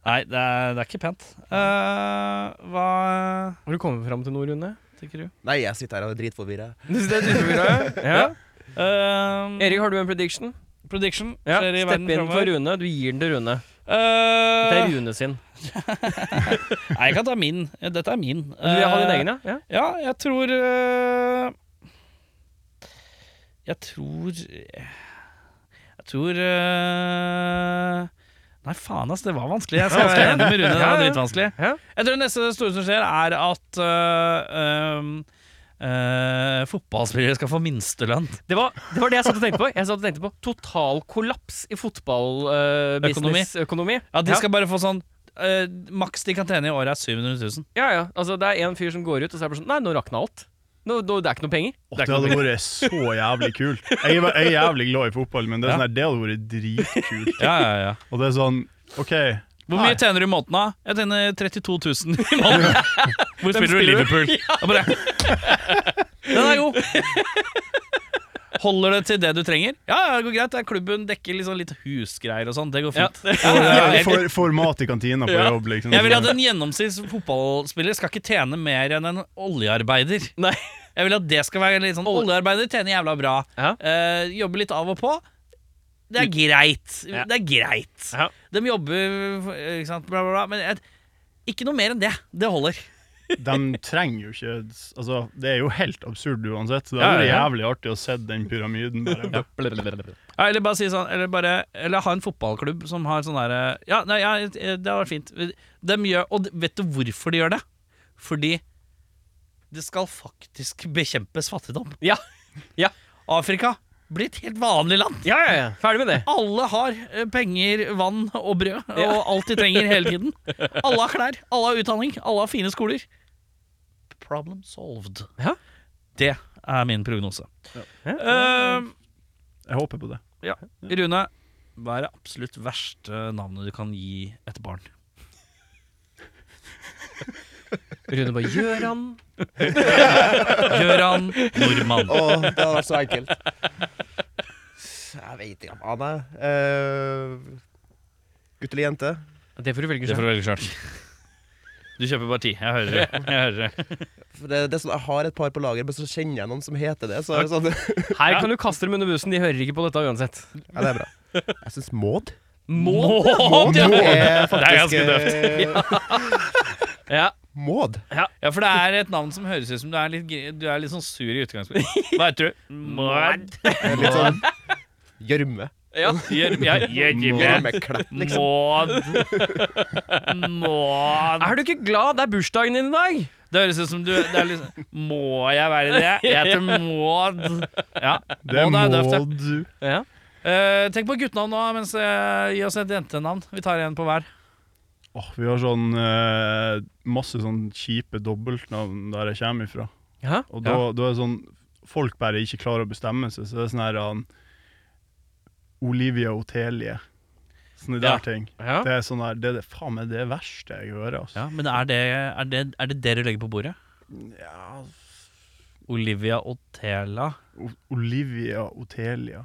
[SPEAKER 1] Nei, det er, det er ikke pent. Eh, hva eh,
[SPEAKER 2] Har du kommet fram til noe, Rune?
[SPEAKER 1] tenker du?
[SPEAKER 4] Nei, jeg sitter her og er dritforvirra.
[SPEAKER 2] Du synes <laughs> det er dritforvirra, ja.
[SPEAKER 1] <laughs> Eh,
[SPEAKER 2] Erik, har du en prediction?
[SPEAKER 1] prediction
[SPEAKER 2] Ja,
[SPEAKER 1] skjer i
[SPEAKER 2] Stepp
[SPEAKER 1] verden
[SPEAKER 2] inn for
[SPEAKER 1] fremover.
[SPEAKER 2] Rune. Du gir den til Rune.
[SPEAKER 1] Eh,
[SPEAKER 2] Det er Rune sin.
[SPEAKER 1] Nei, jeg kan ta min. Dette er min. Eh,
[SPEAKER 2] Du vil ha din egen, ja? ja?
[SPEAKER 1] Ja, jeg tror eh, Jeg tror Jeg tror eh, Nei, faen, ass. Det var vanskelig. Jeg skal være enig med Rune. Det
[SPEAKER 2] Ja,
[SPEAKER 1] var
[SPEAKER 2] ja.
[SPEAKER 1] dritvanskelig.
[SPEAKER 2] Ja.
[SPEAKER 1] Jeg tror det neste store som skjer, er at eh, um, eh, fotballspillere skal få minstelønn.
[SPEAKER 2] Det, var, det var det jeg satt og tenkte på. Jeg satt og tenkte på Total kollaps i fotballbusinessøkonomi.
[SPEAKER 1] Ja, De skal bare få sånn eh, Maks de kan tjene i året, er 700 000.
[SPEAKER 2] ja, ja. Altså, det er en fyr som går ut, og så er det bare sånn Nei, nå rakna alt. Nå, nå, det er ikke noe penger.
[SPEAKER 3] Åh, det hadde vært så jævlig kult. Jeg er, jeg er jævlig glad i fotball, men det, er sånn her, det hadde vært dritkult.
[SPEAKER 1] Ja, ja, ja.
[SPEAKER 3] Og det er sånn OK,
[SPEAKER 1] Hvor
[SPEAKER 3] Nei.
[SPEAKER 1] mye tjener du i måneden, da? Jeg tjener 32 000 i måneden. <laughs> Hvor spiller du i
[SPEAKER 2] spiller du?
[SPEAKER 1] Liverpool? Da Bare, Den er <laughs> god! Holder det til det du trenger? Ja, ja, det går greit. Det er Klubben dekker liksom litt husgreier og sånn. Det går fint. <laughs>
[SPEAKER 3] jeg
[SPEAKER 1] Jeg-
[SPEAKER 3] får, får mat i kantina på
[SPEAKER 1] Ja.
[SPEAKER 3] jobb, liksom.
[SPEAKER 1] Jeg vil at en gjennomsnitts fotballspiller skal ikke tjene mer enn en oljearbeider.
[SPEAKER 2] Nei.
[SPEAKER 1] Jeg vil at det skal være litt sånn Oljearbeider tjener jævla bra.
[SPEAKER 2] Ja.
[SPEAKER 1] Eh, jobber litt av og på. Det er greit.
[SPEAKER 2] Ja.
[SPEAKER 1] Det er greit.
[SPEAKER 2] Ja.
[SPEAKER 1] De jobber eh, ikke sant, bla, bla, bla. Men jeg, ikke noe mer enn det. Det holder.
[SPEAKER 3] De trenger jo ikke Altså, det er jo helt absurd uansett. Så det
[SPEAKER 1] Ja,
[SPEAKER 3] hadde vært
[SPEAKER 1] ja, ja.
[SPEAKER 3] jævlig artig å se den pyramiden. Bare.
[SPEAKER 1] Ja, eller bare si sånn Eller bare Eller ha en fotballklubb som har sånn derre Ja, nei, ja, det har vært fint. De gjør Og vet du hvorfor de gjør det? Fordi det skal faktisk bekjempes fattigdom.
[SPEAKER 2] Ja. Ja.
[SPEAKER 1] Afrika blir et helt vanlig land.
[SPEAKER 2] Ja, ja, ja. Ferdig med det.
[SPEAKER 1] Alle har eh, penger, vann og brød,
[SPEAKER 2] Ja.
[SPEAKER 1] og <laughs> alt de trenger hele
[SPEAKER 2] <laughs>
[SPEAKER 1] tiden. Alle har klær, alle har utdanning, alle har fine skoler. Problem solved.
[SPEAKER 2] Ja.
[SPEAKER 1] Det er min prognose.
[SPEAKER 2] Ja.
[SPEAKER 1] Eh,
[SPEAKER 3] Jeg håper på det.
[SPEAKER 1] Rune, Hva er det absolutt verste navnet du kan gi et barn?
[SPEAKER 2] Rune bare Gjøran.
[SPEAKER 1] Gøran
[SPEAKER 2] <laughs>
[SPEAKER 1] Nordmann.
[SPEAKER 4] Å, det hadde vært så enkelt. Jeg vet ikke hva det er. Eh, gutt eller jente?
[SPEAKER 2] Det får du velge
[SPEAKER 1] Det får
[SPEAKER 2] sjøl.
[SPEAKER 1] du velge sjøl. Du kjøper bare ti. Jeg hører det. Jeg hører det.
[SPEAKER 4] For det, det er sånn, jeg har et par på lager, men så kjenner jeg noen som heter det. Så er det sånn,
[SPEAKER 2] Her kan du kaste dem under bussen, de hører ikke på dette uansett.
[SPEAKER 4] ja, det er bra. Jeg syns Maud
[SPEAKER 2] Maud!
[SPEAKER 1] Maud, ja.
[SPEAKER 4] er
[SPEAKER 1] Det er ganske
[SPEAKER 4] døvt.
[SPEAKER 2] Ja.
[SPEAKER 4] eh, Maud.
[SPEAKER 1] Ja, for det er et navn som høres ut som du er litt, gri- du er litt sånn sur i utgangspunktet. Hva heter du? Maud.
[SPEAKER 4] Det er Litt sånn gjørme.
[SPEAKER 2] ja.
[SPEAKER 1] Gjør- ja, gjør-
[SPEAKER 4] Gjørmeklett, liksom.
[SPEAKER 1] Maud. <laughs> Maud.
[SPEAKER 2] Er du ikke glad? Det er bursdagen din i dag!
[SPEAKER 1] Det høres ut som du det er liksom, Må jeg være det? Jeg heter Maud. Ja,
[SPEAKER 3] Det
[SPEAKER 1] Maud er døvt, ja.
[SPEAKER 3] må du.
[SPEAKER 2] Ja.
[SPEAKER 1] Eh, tenk på guttenavn nå, mens jeg gi oss et jentenavn. Vi tar en på hver.
[SPEAKER 3] Åh, vi har sånn eh, masse sånn kjipe dobbeltnavn der jeg kommer ifra.
[SPEAKER 2] Ja.
[SPEAKER 3] Og da, da er det sånn Folk bare ikke klarer å bestemme seg, så det er sånn her han, Olivia Otelie. Sånne der
[SPEAKER 1] Ja.
[SPEAKER 3] ting.
[SPEAKER 2] Ja.
[SPEAKER 3] Det er sånn der, det er det, faen meg det verste jeg hører. Altså.
[SPEAKER 1] Ja, Men er det er det, er det, det du legger på bordet?
[SPEAKER 3] Ja.
[SPEAKER 1] Olivia Otela.
[SPEAKER 3] O Olivia Otelia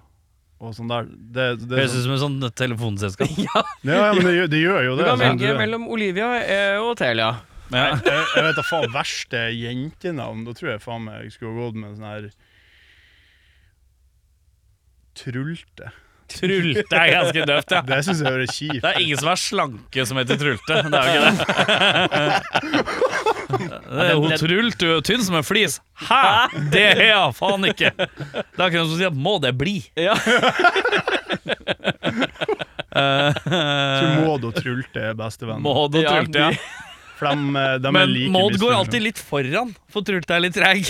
[SPEAKER 3] og sånn der. Det, det er
[SPEAKER 1] Høres ut
[SPEAKER 3] sånn,
[SPEAKER 1] som et sånt telefonselskap.
[SPEAKER 3] <laughs> ja, ja, men det, gjør- det gjør jo
[SPEAKER 2] Du
[SPEAKER 3] det.
[SPEAKER 2] kan
[SPEAKER 3] altså.
[SPEAKER 2] velge mellom Olivia eh, og Telia.
[SPEAKER 1] Ja.
[SPEAKER 3] jeg, jeg vet da faen verste jentenavn. Da tror jeg faen meg jeg skulle ha gått med en sånn her Trulte.
[SPEAKER 1] Trulte er ganske døvt, ja.
[SPEAKER 3] Det syns jeg høres kjipt
[SPEAKER 1] Det er ingen som er slanke som heter Trulte. Det er jo ikke
[SPEAKER 2] <laughs>
[SPEAKER 1] det. det er hun Trult, du er tynn som en flis. Hæ?! Det er jeg faen ikke! Det er akkurat som å si at må det bli.
[SPEAKER 2] Ja.
[SPEAKER 3] ut. Maud og Trulte er bestevenn.
[SPEAKER 1] Maud og
[SPEAKER 2] Ja,
[SPEAKER 1] Trulte, ja.
[SPEAKER 3] For de, eh, de er
[SPEAKER 1] Men
[SPEAKER 3] like
[SPEAKER 1] Maud går
[SPEAKER 3] misfornøyde.
[SPEAKER 1] alltid litt foran, for Trulte er litt treig.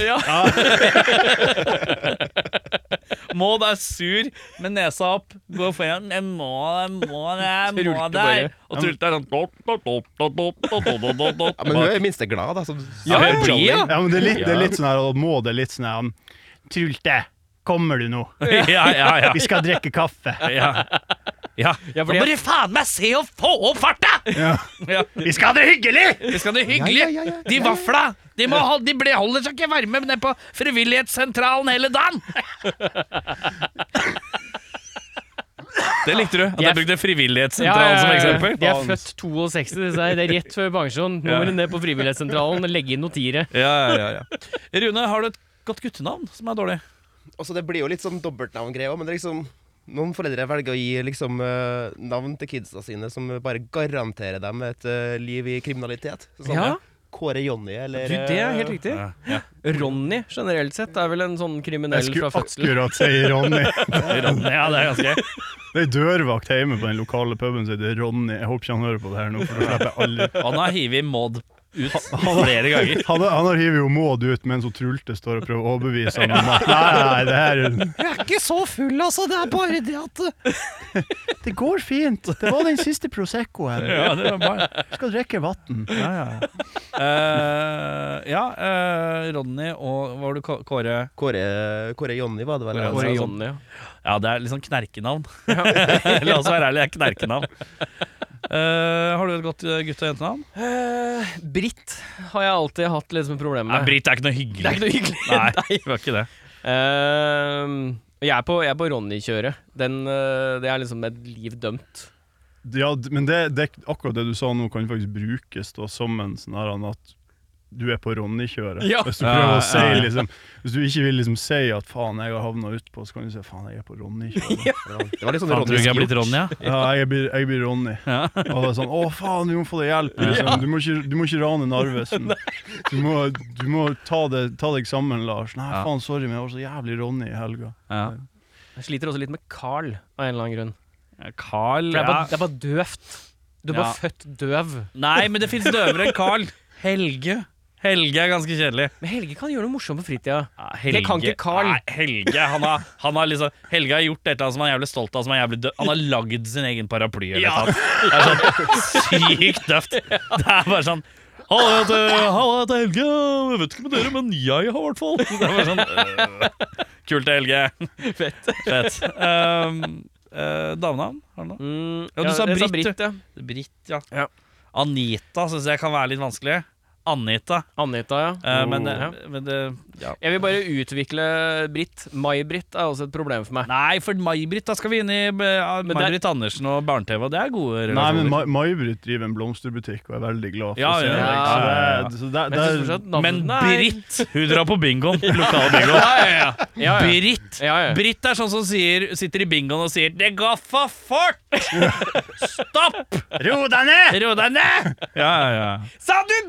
[SPEAKER 1] <laughs> Maud er sur med nesa opp, går foran. Jeg må, jeg må, jeg må
[SPEAKER 2] Trulte
[SPEAKER 1] der.
[SPEAKER 2] bare.
[SPEAKER 1] Og Trulte sånn er sånn dop, dop, dop, dop, dop, dop, dop, dop, dop.
[SPEAKER 4] Ja, men hun er i det minste glad, da. Som,
[SPEAKER 1] Ja,
[SPEAKER 4] som
[SPEAKER 1] jeg
[SPEAKER 4] Jolly.
[SPEAKER 1] blir, ja.
[SPEAKER 3] Ja, men det er litt, det er litt sånn her og Maud er litt sånn her um, Trulte, kommer du nå?
[SPEAKER 1] Ja, ja, ja. <laughs>
[SPEAKER 3] Vi skal drikke kaffe.
[SPEAKER 1] Ja. Ja.
[SPEAKER 2] Ja,
[SPEAKER 1] Nå
[SPEAKER 2] fordi
[SPEAKER 1] må du faen meg se og få opp farta!
[SPEAKER 3] Ja.
[SPEAKER 1] Ja.
[SPEAKER 3] Vi skal ha det hyggelig!
[SPEAKER 1] Det skal bli hyggelig.
[SPEAKER 4] Ja, ja, ja, ja.
[SPEAKER 1] De vafla de, må hold- de ble- holder seg ikke varme nede på frivillighetssentralen hele dagen. <laughs> Det likte du. At
[SPEAKER 2] jeg
[SPEAKER 1] brukte
[SPEAKER 2] Ja,
[SPEAKER 1] frivillighetssentralen
[SPEAKER 2] ja, ja, ja. De er født 62, disse her. Det er rett før pensjon. Nå må du ned på frivillighetssentralen og legge inn notiret.
[SPEAKER 1] Ja, ja, ja, Rune, har du et godt guttenavn som er dårlig?
[SPEAKER 4] Og så det blir jo litt sånn dobbeltnavngreie òg, men det er liksom noen foreldre velger å gi liksom, eh, navn til kidsa sine som bare garanterer dem et eh, liv i kriminalitet. Sånn,
[SPEAKER 2] Ja.
[SPEAKER 4] Kåre Jonny eller
[SPEAKER 2] Du, det er helt
[SPEAKER 4] eh,
[SPEAKER 2] riktig. Ronny generelt sett er vel en sånn
[SPEAKER 3] Jeg
[SPEAKER 2] kriminell
[SPEAKER 3] skulle
[SPEAKER 2] fra fødselen.
[SPEAKER 3] akkurat si Ronny.
[SPEAKER 1] Ronny, ja, det er ganske
[SPEAKER 3] Det er dørvakt hjemme på den lokale puben som heter Ronny. Jeg håper ikke han hører på det her nå, for da slipper jeg aldri
[SPEAKER 1] Han har hivet Maud ut flere ganger.
[SPEAKER 3] Han, han har hivet jo Maud ut mens hun Trulte står og prøver å overbevise ham om at nei, nei, det her er
[SPEAKER 1] Jeg er ikke så full, altså. Det er bare det at uh,
[SPEAKER 3] <laughs> Det går fint. Det var den siste Proseccoen.
[SPEAKER 1] Ja, det er bare
[SPEAKER 3] Du skal drikke vann.
[SPEAKER 1] Ja, ja, ja. Eh, ja eh, Ronny og hva var du, K- Kåre?
[SPEAKER 4] Kåre, Kåre Jonny var det vel?
[SPEAKER 1] Kåre
[SPEAKER 4] altså,
[SPEAKER 2] Kåre
[SPEAKER 4] sånn.
[SPEAKER 2] Jonny, ja.
[SPEAKER 1] Ja, det er litt sånn knerkenavn. <laughs> La oss være ærlige, det er knerkenavn. Eh, har du et godt eh, gutte- og jentenavn?
[SPEAKER 2] Eh, Britt har jeg alltid hatt litt som problem med.
[SPEAKER 1] Britt er ikke noe hyggelig.
[SPEAKER 2] Det er ikke noe hyggelig.
[SPEAKER 1] Nei, det var ikke det.
[SPEAKER 2] Eh, jeg er på, jeg er på Ronny-kjøret. Den, eh, det er liksom et liv dømt.
[SPEAKER 3] Ja, d- men det, det, akkurat det du sa nå, kan faktisk brukes da, som en sånn her an at du er på Ronny-kjøret.
[SPEAKER 2] Ja.
[SPEAKER 3] Hvis du prøver
[SPEAKER 1] Ja,
[SPEAKER 3] å si
[SPEAKER 1] ja.
[SPEAKER 3] liksom Hvis du ikke vil liksom si at 'faen, jeg har havna utpå', så kan du si 'faen, jeg er på Ronny-kjøret'.
[SPEAKER 4] Det var litt sånn
[SPEAKER 1] Faen, tror du ikke jeg er
[SPEAKER 4] Ronny
[SPEAKER 1] blitt Ronny, ja?
[SPEAKER 3] Ja, jeg blir, jeg blir Ronny. Og det er sånn 'Å, faen, vi må få deg hjelp'. Liksom. Du, må ikke, du må ikke rane Narvesen. Du må, du må ta, det, ta deg sammen, Lars. 'Nei,
[SPEAKER 1] Ja.
[SPEAKER 3] faen, sorry, men jeg var så jævlig Ronny i helga'.
[SPEAKER 1] ja.
[SPEAKER 2] Jeg sliter også litt med Carl, av en eller annen grunn.
[SPEAKER 1] Carl
[SPEAKER 2] For det er bare, det er bare døvt. Du er
[SPEAKER 1] Ja.
[SPEAKER 2] bare født døv.
[SPEAKER 1] Nei, men det fins døvere enn Carl. Helge. Helge er ganske kjedelig.
[SPEAKER 2] Men Helge kan gjøre noe morsomt på fritida.
[SPEAKER 1] Ja, Helge.
[SPEAKER 2] Det kan ikke Carl.
[SPEAKER 1] Nei, Helge han har, han har liksom Helge har gjort dette som han er jævlig stolt av. Som han, er jævlig dø han har lagd sin egen paraply. Eller
[SPEAKER 2] Ja.
[SPEAKER 1] noe sånt. Det er sånn sykt
[SPEAKER 2] <laughs>
[SPEAKER 1] døvt. Det er bare sånn Halla, jeg heter- halla, jeg heter Helge. Jeg vet ikke med dere, men jeg har i hvert fall Det er bare sånn øh. Kult, Helge. Fett. Fett. Um, Eh, Damenavn? Har du noe?
[SPEAKER 2] Mm,
[SPEAKER 1] Ja, du sa
[SPEAKER 2] jeg
[SPEAKER 1] Britt, du.
[SPEAKER 2] ja.
[SPEAKER 1] Britt, ja.
[SPEAKER 2] Ja.
[SPEAKER 1] Anita syns jeg kan være litt vanskelig. Anita.
[SPEAKER 2] Anita, ja.
[SPEAKER 1] Eh, men,
[SPEAKER 2] Oh.
[SPEAKER 1] eh, men det ja.
[SPEAKER 2] Jeg vil bare utvikle Britt. May-Britt er også et problem for meg.
[SPEAKER 1] Nei, for May-Britt, da skal vi inn i eh,
[SPEAKER 2] det er-
[SPEAKER 1] May-Britt Andersen og barne-TV, og det er gode
[SPEAKER 3] Nei, men Ma- May-Britt driver en blomsterbutikk og er veldig glad for
[SPEAKER 1] Ja,
[SPEAKER 3] å se
[SPEAKER 1] ja,
[SPEAKER 3] deg.
[SPEAKER 2] ja,
[SPEAKER 3] Så det
[SPEAKER 1] ja, ja.
[SPEAKER 3] er- Så det,
[SPEAKER 2] Men
[SPEAKER 3] det,
[SPEAKER 2] jeg synes
[SPEAKER 3] er-
[SPEAKER 2] fortsatt navnet
[SPEAKER 1] Men
[SPEAKER 2] er-
[SPEAKER 1] Britt, hun drar på
[SPEAKER 2] <laughs>
[SPEAKER 1] bingoen. Lokal bingo.
[SPEAKER 2] Ja, ja.
[SPEAKER 1] Britt.
[SPEAKER 2] Ja, ja.
[SPEAKER 1] Britt er sånn som sier, sitter i bingoen og sier 'Det går for fort!' Stopp!
[SPEAKER 3] Ro deg
[SPEAKER 1] <laughs>
[SPEAKER 3] ned!
[SPEAKER 1] Ro deg ned! Ja, ja,
[SPEAKER 2] Sa du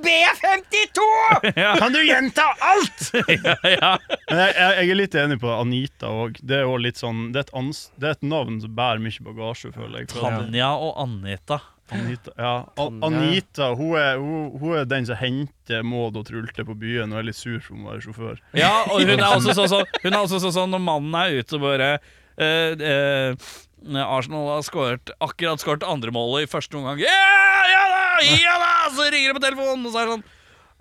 [SPEAKER 2] B52?!
[SPEAKER 3] Kan du gjenta alt?!
[SPEAKER 1] <laughs> ja. ja.
[SPEAKER 3] Men jeg, jeg, jeg er litt enig på Anita òg. Det er jo litt sånn det er, et ans, det er et navn som bærer mye bagasje, føler jeg. For at-
[SPEAKER 1] Tanja og Anita.
[SPEAKER 3] Anita, ja. An
[SPEAKER 2] Tanja.
[SPEAKER 3] Anita hun er, hun, hun er den som henter Maud og Trulte på byen og er litt sur for å være sjåfør.
[SPEAKER 1] Ja, og hun er også sånn sånn- Hun er også sånn sånn når mannen er ute og bare eh, eh, Arsenal har skåret, akkurat skåret andre målet i første omgang. Ja, ja da! Ja da! Så ringer det på telefonen, og så er det sånn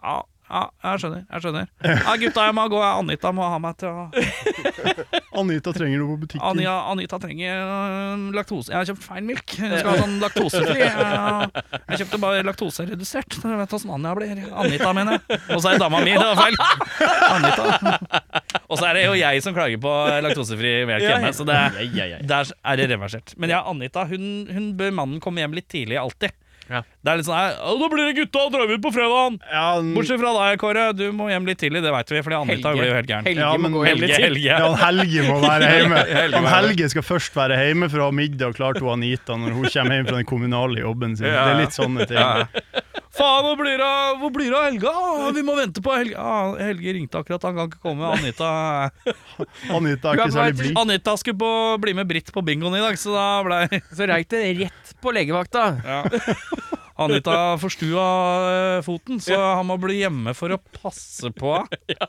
[SPEAKER 1] Ja, ja jeg skjønner. jeg skjønner Ja, Gutta, jeg må gå. Anita må ha meg til å
[SPEAKER 3] Anita trenger noe på butikken.
[SPEAKER 1] Anja, Anita trenger øh, laktose. Jeg har kjøpt feil
[SPEAKER 2] <laughs>
[SPEAKER 1] melk. Jeg skal ha sånn laktosefri. Jeg, jeg kjøpte bare laktoseredusert. Dere vet åssen Anja blir. Anita, mener jeg. Og så er det dama mi. Det var feil. Anita. Og så er det jo jeg som klager på laktosefri melk
[SPEAKER 2] Ja, ja.
[SPEAKER 1] hjemme, så det er, der er det reversert. Men ja, Anita, hun, hun bør mannen komme hjem litt tidlig, alltid.
[SPEAKER 2] Ja.
[SPEAKER 1] Det er litt sånn her «Å, Nå blir det gutta og drar ut på fredagen!
[SPEAKER 3] Ja, n-
[SPEAKER 1] Bortsett fra deg, Kåre. Du må hjem litt tidlig, det veit vi, fordi Anita
[SPEAKER 2] Mm. Helge.
[SPEAKER 1] blir jo helt gæren.
[SPEAKER 2] Helge
[SPEAKER 3] Ja, men
[SPEAKER 2] må gå hjem litt
[SPEAKER 1] Helge,
[SPEAKER 2] til.
[SPEAKER 1] Helge.
[SPEAKER 3] ja, han Helge må
[SPEAKER 1] <laughs>
[SPEAKER 3] være hjemme.
[SPEAKER 1] Helge må
[SPEAKER 3] Han
[SPEAKER 1] være-
[SPEAKER 3] Helge skal først være hjemme for å ha middag og klart til Anita når hun kommer hjem fra den kommunale jobben sin.
[SPEAKER 1] Ja.
[SPEAKER 3] Det er litt sånne ting.
[SPEAKER 1] Ja. Faen, hvor blir det av- hvor blir det av Helga? Ah, Vi må vente på Helga. Ah, Helge ringte akkurat, han kan ikke komme. Anita,
[SPEAKER 3] Anita er ikke særlig blid.
[SPEAKER 1] Anita skulle på, bli med Britt på bingoen i dag, så da blei
[SPEAKER 2] Så røyk det rett på legevakta.
[SPEAKER 1] Anita forstua eh, foten, så han må bli hjemme for å passe <laughs> på henne.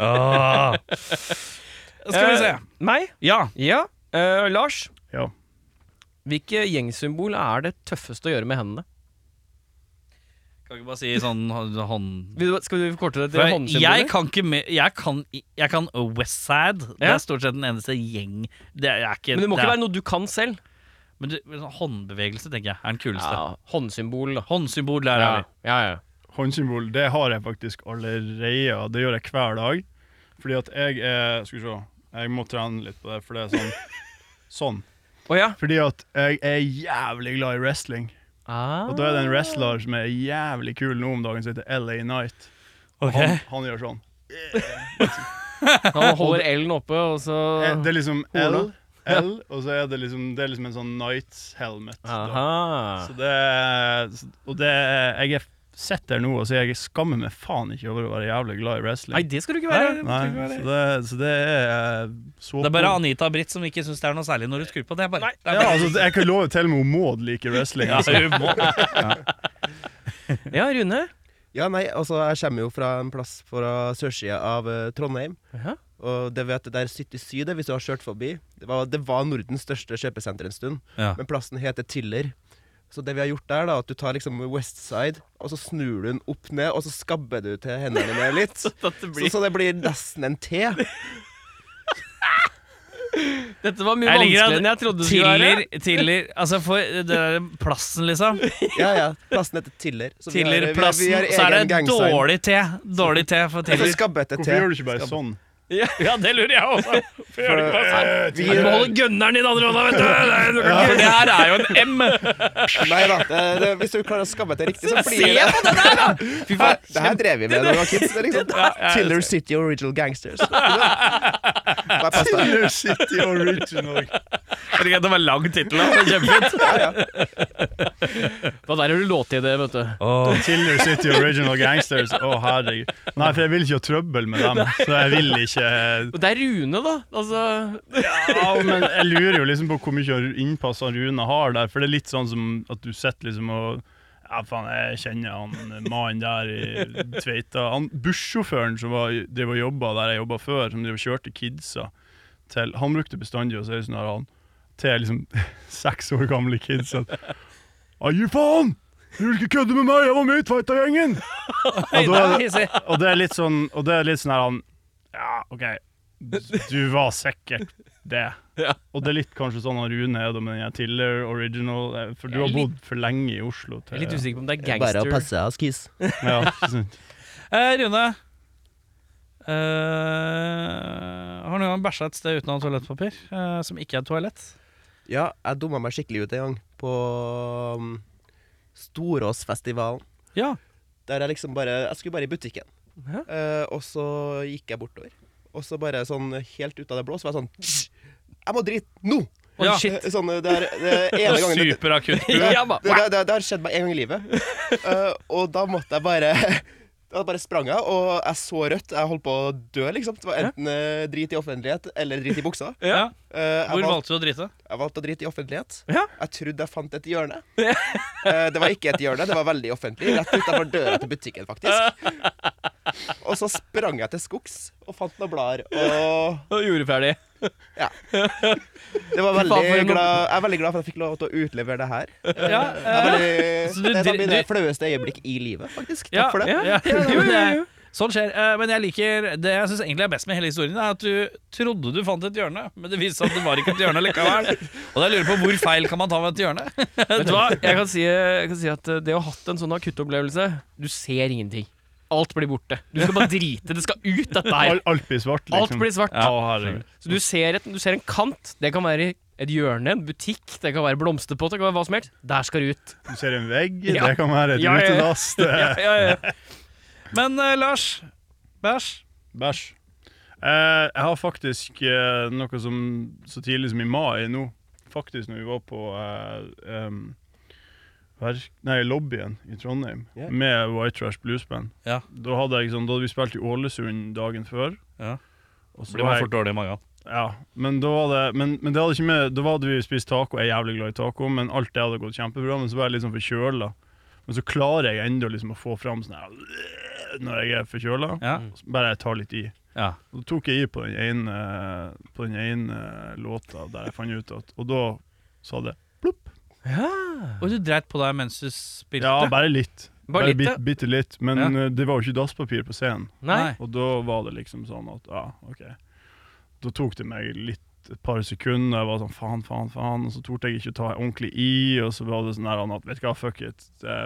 [SPEAKER 1] Ah. Skal vi se.
[SPEAKER 2] Eh, meg?
[SPEAKER 1] Ja.
[SPEAKER 2] Ja. Eh, Lars,
[SPEAKER 3] Ja.
[SPEAKER 2] hvilke gjengsymbol er det tøffeste å gjøre med hendene?
[SPEAKER 1] Kan ikke bare si sånn hånd...
[SPEAKER 2] Vil du, skal du korte det til håndsymboler?
[SPEAKER 1] Jeg kan ikke me- Jeg kan, jeg kan Westside. Det
[SPEAKER 2] Ja.
[SPEAKER 1] er stort sett den eneste gjeng Det er ikke
[SPEAKER 2] Men det må
[SPEAKER 1] er-
[SPEAKER 2] ikke være noe du kan selv.
[SPEAKER 1] Men det, men sånn håndbevegelse tenker jeg er den kuleste.
[SPEAKER 2] Ja, håndsymbol, da.
[SPEAKER 1] Håndsymbol, der
[SPEAKER 2] Ja,
[SPEAKER 1] er vi.
[SPEAKER 2] ja, ja.
[SPEAKER 3] Håndsymbol, det har jeg faktisk allerede. og Det gjør jeg hver dag. Fordi at jeg er Skal vi se, jeg må trene litt på det, for det er sånn. Sånn.
[SPEAKER 2] Å ja.
[SPEAKER 3] Fordi at jeg er jævlig glad i wrestling.
[SPEAKER 2] Ah.
[SPEAKER 3] Og da er det en wrestler som er jævlig kul nå om dagen, som heter LA Knight.
[SPEAKER 1] Ok.
[SPEAKER 3] Han, han gjør sånn. <laughs>
[SPEAKER 2] Han holder L-en oppe, og så
[SPEAKER 3] Eh, Det er liksom L,
[SPEAKER 2] Ola.
[SPEAKER 3] L, og så er det liksom Det er liksom en sånn Knights helmet. da.
[SPEAKER 2] Aha.
[SPEAKER 3] Så det er- så- Og det er- Jeg er sitter her nå og sier jeg skammer meg faen ikke over å være jævlig glad i wrestling.
[SPEAKER 2] Nei, det skal du ikke være.
[SPEAKER 3] Nei, så det, så det er eh, så
[SPEAKER 1] Det er bare Anita og Britt som ikke syns det er noe særlig når du skrur på. Det er bare, det er
[SPEAKER 3] ja,
[SPEAKER 1] bare.
[SPEAKER 3] altså, Jeg kan love til og med hun Maud liker wrestling.
[SPEAKER 1] Ja,
[SPEAKER 3] Altså.
[SPEAKER 1] hun må.
[SPEAKER 2] Ja, Rune.
[SPEAKER 4] Ja, nei, altså, jeg kommer jo fra en plass fra sørsida av eh, Trondheim.
[SPEAKER 2] Ja.
[SPEAKER 4] Og det vet der 77 er, hvis du har kjørt forbi. Det var, det var Nordens største kjøpesenter en stund,
[SPEAKER 1] Ja.
[SPEAKER 4] men plassen heter Tiller. Så det vi har gjort der, da, at du tar liksom Westside, og så snur du den opp ned, og så skabber du til hendene dine litt.
[SPEAKER 2] Dette,
[SPEAKER 4] Så, så det blir nesten en T.
[SPEAKER 2] Dette var mye
[SPEAKER 1] Jeg liker at
[SPEAKER 2] vanskeligere enn jeg trodde det skulle
[SPEAKER 1] Tiller,
[SPEAKER 2] være.
[SPEAKER 1] tiller Altså, for det der plassen, liksom.
[SPEAKER 4] Ja, ja. Plassen heter Tiller. Så vi har- vi har- vi har
[SPEAKER 1] Tillerplassen. Så er
[SPEAKER 4] egen
[SPEAKER 1] det
[SPEAKER 4] gang sign.
[SPEAKER 1] dårlig te. Dårlig te for
[SPEAKER 4] Altså
[SPEAKER 1] Tiller.
[SPEAKER 4] skabbete
[SPEAKER 3] Hvorfor
[SPEAKER 4] te.
[SPEAKER 3] gjør du ikke bare sånn?
[SPEAKER 1] Ja, det lurer jeg også
[SPEAKER 4] Vi,
[SPEAKER 2] Du må holde gønneren i den andre hånda, vet du! Det er-
[SPEAKER 1] For det her er jo en M.
[SPEAKER 4] nei da. Det, det, hvis du klarer å skabbe til riktig, så
[SPEAKER 2] Se
[SPEAKER 4] blir det
[SPEAKER 2] på det der,
[SPEAKER 4] <laughs>
[SPEAKER 2] da! Fy
[SPEAKER 4] Ja,
[SPEAKER 2] faen.
[SPEAKER 4] det her drev vi med da vi var kids. det er Liksom.
[SPEAKER 1] ja, jeg
[SPEAKER 4] Tiller City Original
[SPEAKER 2] <laughs>
[SPEAKER 4] Gangsters. Bare pass deg.
[SPEAKER 3] Killer City Original.
[SPEAKER 1] Herregud, Det var lang tittel. da. Det er Kjempefint.
[SPEAKER 2] Hva der har du låt i det, vet du.
[SPEAKER 3] Killer City Original Gangsters. Å, herregud. Nei, for jeg vil ikke ha trøbbel med dem. Så jeg vil ikke
[SPEAKER 2] Og det er Rune, da. Altså
[SPEAKER 3] ja, Men jeg lurer jo liksom på hvor mye innpass han Rune har der. For det er litt sånn som at du sitter liksom og ja, faen, jeg kjenner han mannen der i Tveita. Han bussjåføren som var, drev og jobba der jeg jobba før, som drev og kjørte kidsa til Han brukte bestandig å si sånn her, han til liksom <laughs> seks år gamle kids at «Ja, Gi faen! Du vil ikke kødde med meg! Jeg var med i
[SPEAKER 2] <laughs>
[SPEAKER 3] Tveita-gjengen! Og da er det- og det er litt sånn Og det er litt sånn her han Ja, OK, du var sikkert det.
[SPEAKER 2] <laughs> Ja.
[SPEAKER 3] Og det er litt kanskje sånn han Rune er da med den her Tiller Original, eh, for du
[SPEAKER 2] Jeg er
[SPEAKER 3] har
[SPEAKER 2] litt-
[SPEAKER 3] bodd for lenge i Oslo
[SPEAKER 2] Jeg
[SPEAKER 3] til
[SPEAKER 2] er litt usikker på om det er
[SPEAKER 4] Bare å
[SPEAKER 2] gangster.
[SPEAKER 4] passe oss, kiss.
[SPEAKER 3] Ja,
[SPEAKER 2] <laughs>
[SPEAKER 3] ikke sant.
[SPEAKER 1] Eh, Rune. Eh, har noen gang bæsja et sted uten å ha toalettpapir? eh, som ikke er et toalett?
[SPEAKER 4] Ja, jeg dumma meg skikkelig ut en gang på um, Storåsfestivalen.
[SPEAKER 1] Ja.
[SPEAKER 4] Der jeg liksom bare Jeg skulle bare i butikken.
[SPEAKER 2] Ja.
[SPEAKER 4] Eh, og så gikk jeg bortover. Og så bare sånn helt ut av det blå, så var jeg sånn Jeg må drite nå!
[SPEAKER 2] Oi,
[SPEAKER 1] Ja.
[SPEAKER 2] shit.
[SPEAKER 4] Eh, Sånn, det er det er ene gangen det,
[SPEAKER 1] Superakutt.
[SPEAKER 2] <laughs> Ja, ba-
[SPEAKER 4] det, det, det, det har skjedd meg en gang i livet.
[SPEAKER 2] <laughs>
[SPEAKER 4] Eh, og da måtte jeg bare <laughs> Da bare sprang jeg, og jeg så rødt. Jeg holdt på å dø, liksom. Det var enten eh, drit i offentlighet eller drit i buksa.
[SPEAKER 1] Ja.
[SPEAKER 4] Eh,
[SPEAKER 1] Hvor
[SPEAKER 4] jeg, valgte,
[SPEAKER 1] valgte du å drite?
[SPEAKER 4] jeg valgte å drite i offentlighet.
[SPEAKER 2] Ja.
[SPEAKER 4] Jeg trodde jeg fant et
[SPEAKER 2] <laughs>
[SPEAKER 4] hjørne. Eh, det var ikke et hjørne, det var veldig offentlig. Rett utenfor døra til butikken,
[SPEAKER 2] <laughs>
[SPEAKER 4] faktisk. Og så sprang jeg til skogs og fant noen blader. Og
[SPEAKER 2] Og gjorde ferdig.
[SPEAKER 4] det
[SPEAKER 2] Fy faen,
[SPEAKER 4] var veldig
[SPEAKER 2] for en-
[SPEAKER 4] glad, jeg er veldig glad for at jeg fikk lov til å utlevere det her.
[SPEAKER 1] Ja,
[SPEAKER 4] Jeg er
[SPEAKER 1] eh,
[SPEAKER 4] veldig,
[SPEAKER 1] <laughs> Så du
[SPEAKER 4] det er et av
[SPEAKER 1] dri-
[SPEAKER 4] mine
[SPEAKER 1] du-
[SPEAKER 4] flaueste øyeblikk i livet, faktisk. Takk
[SPEAKER 1] ja,
[SPEAKER 4] for det.
[SPEAKER 1] ja, ja,
[SPEAKER 2] Ja, jo,
[SPEAKER 1] men
[SPEAKER 2] jo,
[SPEAKER 1] det-
[SPEAKER 2] jo.
[SPEAKER 1] Sånn skjer. Eh, Men jeg liker det jeg syns egentlig er best med hele historien, er at du trodde du fant et hjørne, men det viste seg at det var ikke et hjørne likevel. Og da lurer jeg på hvor feil kan man ta ved et hjørne?
[SPEAKER 2] Vet du hva? Jeg kan, si, jeg kan si at eh, det å ha hatt en sånn akuttopplevelse Du ser ingenting. Alt blir borte. Du skal
[SPEAKER 3] <laughs>
[SPEAKER 2] bare drite. Det skal ut, dette her.
[SPEAKER 3] Al- Alt blir svart, liksom.
[SPEAKER 2] Alt blir svart.
[SPEAKER 3] Ja, herregud.
[SPEAKER 2] Så du ser, et, du ser en kant. Det kan være et hjørne, en butikk, det kan være blomsterpott, det kan være hva som helst. Der skal det ut.
[SPEAKER 3] Du ser en vegg,
[SPEAKER 2] Ja.
[SPEAKER 3] det kan være et
[SPEAKER 2] Ja, ja, ja.
[SPEAKER 3] utedass. Det
[SPEAKER 2] Ja,
[SPEAKER 3] er
[SPEAKER 2] ja, ja.
[SPEAKER 1] Men eh, Lars Bæsj.
[SPEAKER 3] bæsj. Eh, jeg har faktisk eh, noe som så tidlig som i mai nå, faktisk når vi var på eh, em, verk, nei, lobbyen i Trondheim
[SPEAKER 4] Ja.
[SPEAKER 3] med White Trash Blues Band.
[SPEAKER 1] Ja.
[SPEAKER 3] Da, hadde jeg, liksom, da hadde vi spilt i Ålesund dagen før.
[SPEAKER 1] Ja.
[SPEAKER 3] Og så
[SPEAKER 1] Blir
[SPEAKER 3] var
[SPEAKER 1] man
[SPEAKER 3] jeg
[SPEAKER 1] fort dårlig i magen.
[SPEAKER 3] Ja, men da var det Men, men det hadde ikke med Da hadde vi spist taco, jeg er jævlig glad i taco, men alt det hadde gått kjempebra. Men så var jeg litt sånn forkjøla. Men så klarer jeg ennå liksom å få fram sånn her Når jeg er forkjøla.
[SPEAKER 1] Ja.
[SPEAKER 3] Så Bare jeg tar litt i.
[SPEAKER 1] Ja.
[SPEAKER 3] Og Da tok jeg i på den ene På den ene eh, låta der jeg fant ut at Og da sa det plopp.
[SPEAKER 1] Og du dreit på deg mens du spilte?
[SPEAKER 3] Ja, bare litt.
[SPEAKER 2] Bare litt, ja.
[SPEAKER 3] bit, bitte litt. Men
[SPEAKER 1] Ja.
[SPEAKER 3] eh, det var jo ikke dasspapir på scenen.
[SPEAKER 2] Nei.
[SPEAKER 1] Nei.
[SPEAKER 3] Og da var det liksom sånn at ja, OK. Da tok det meg litt et par sekunder, jeg var sånn faen, faen, faen, og så torde jeg ikke å ta ordentlig i, og så var det sånn her Anna, at vet du hva, fuck it, det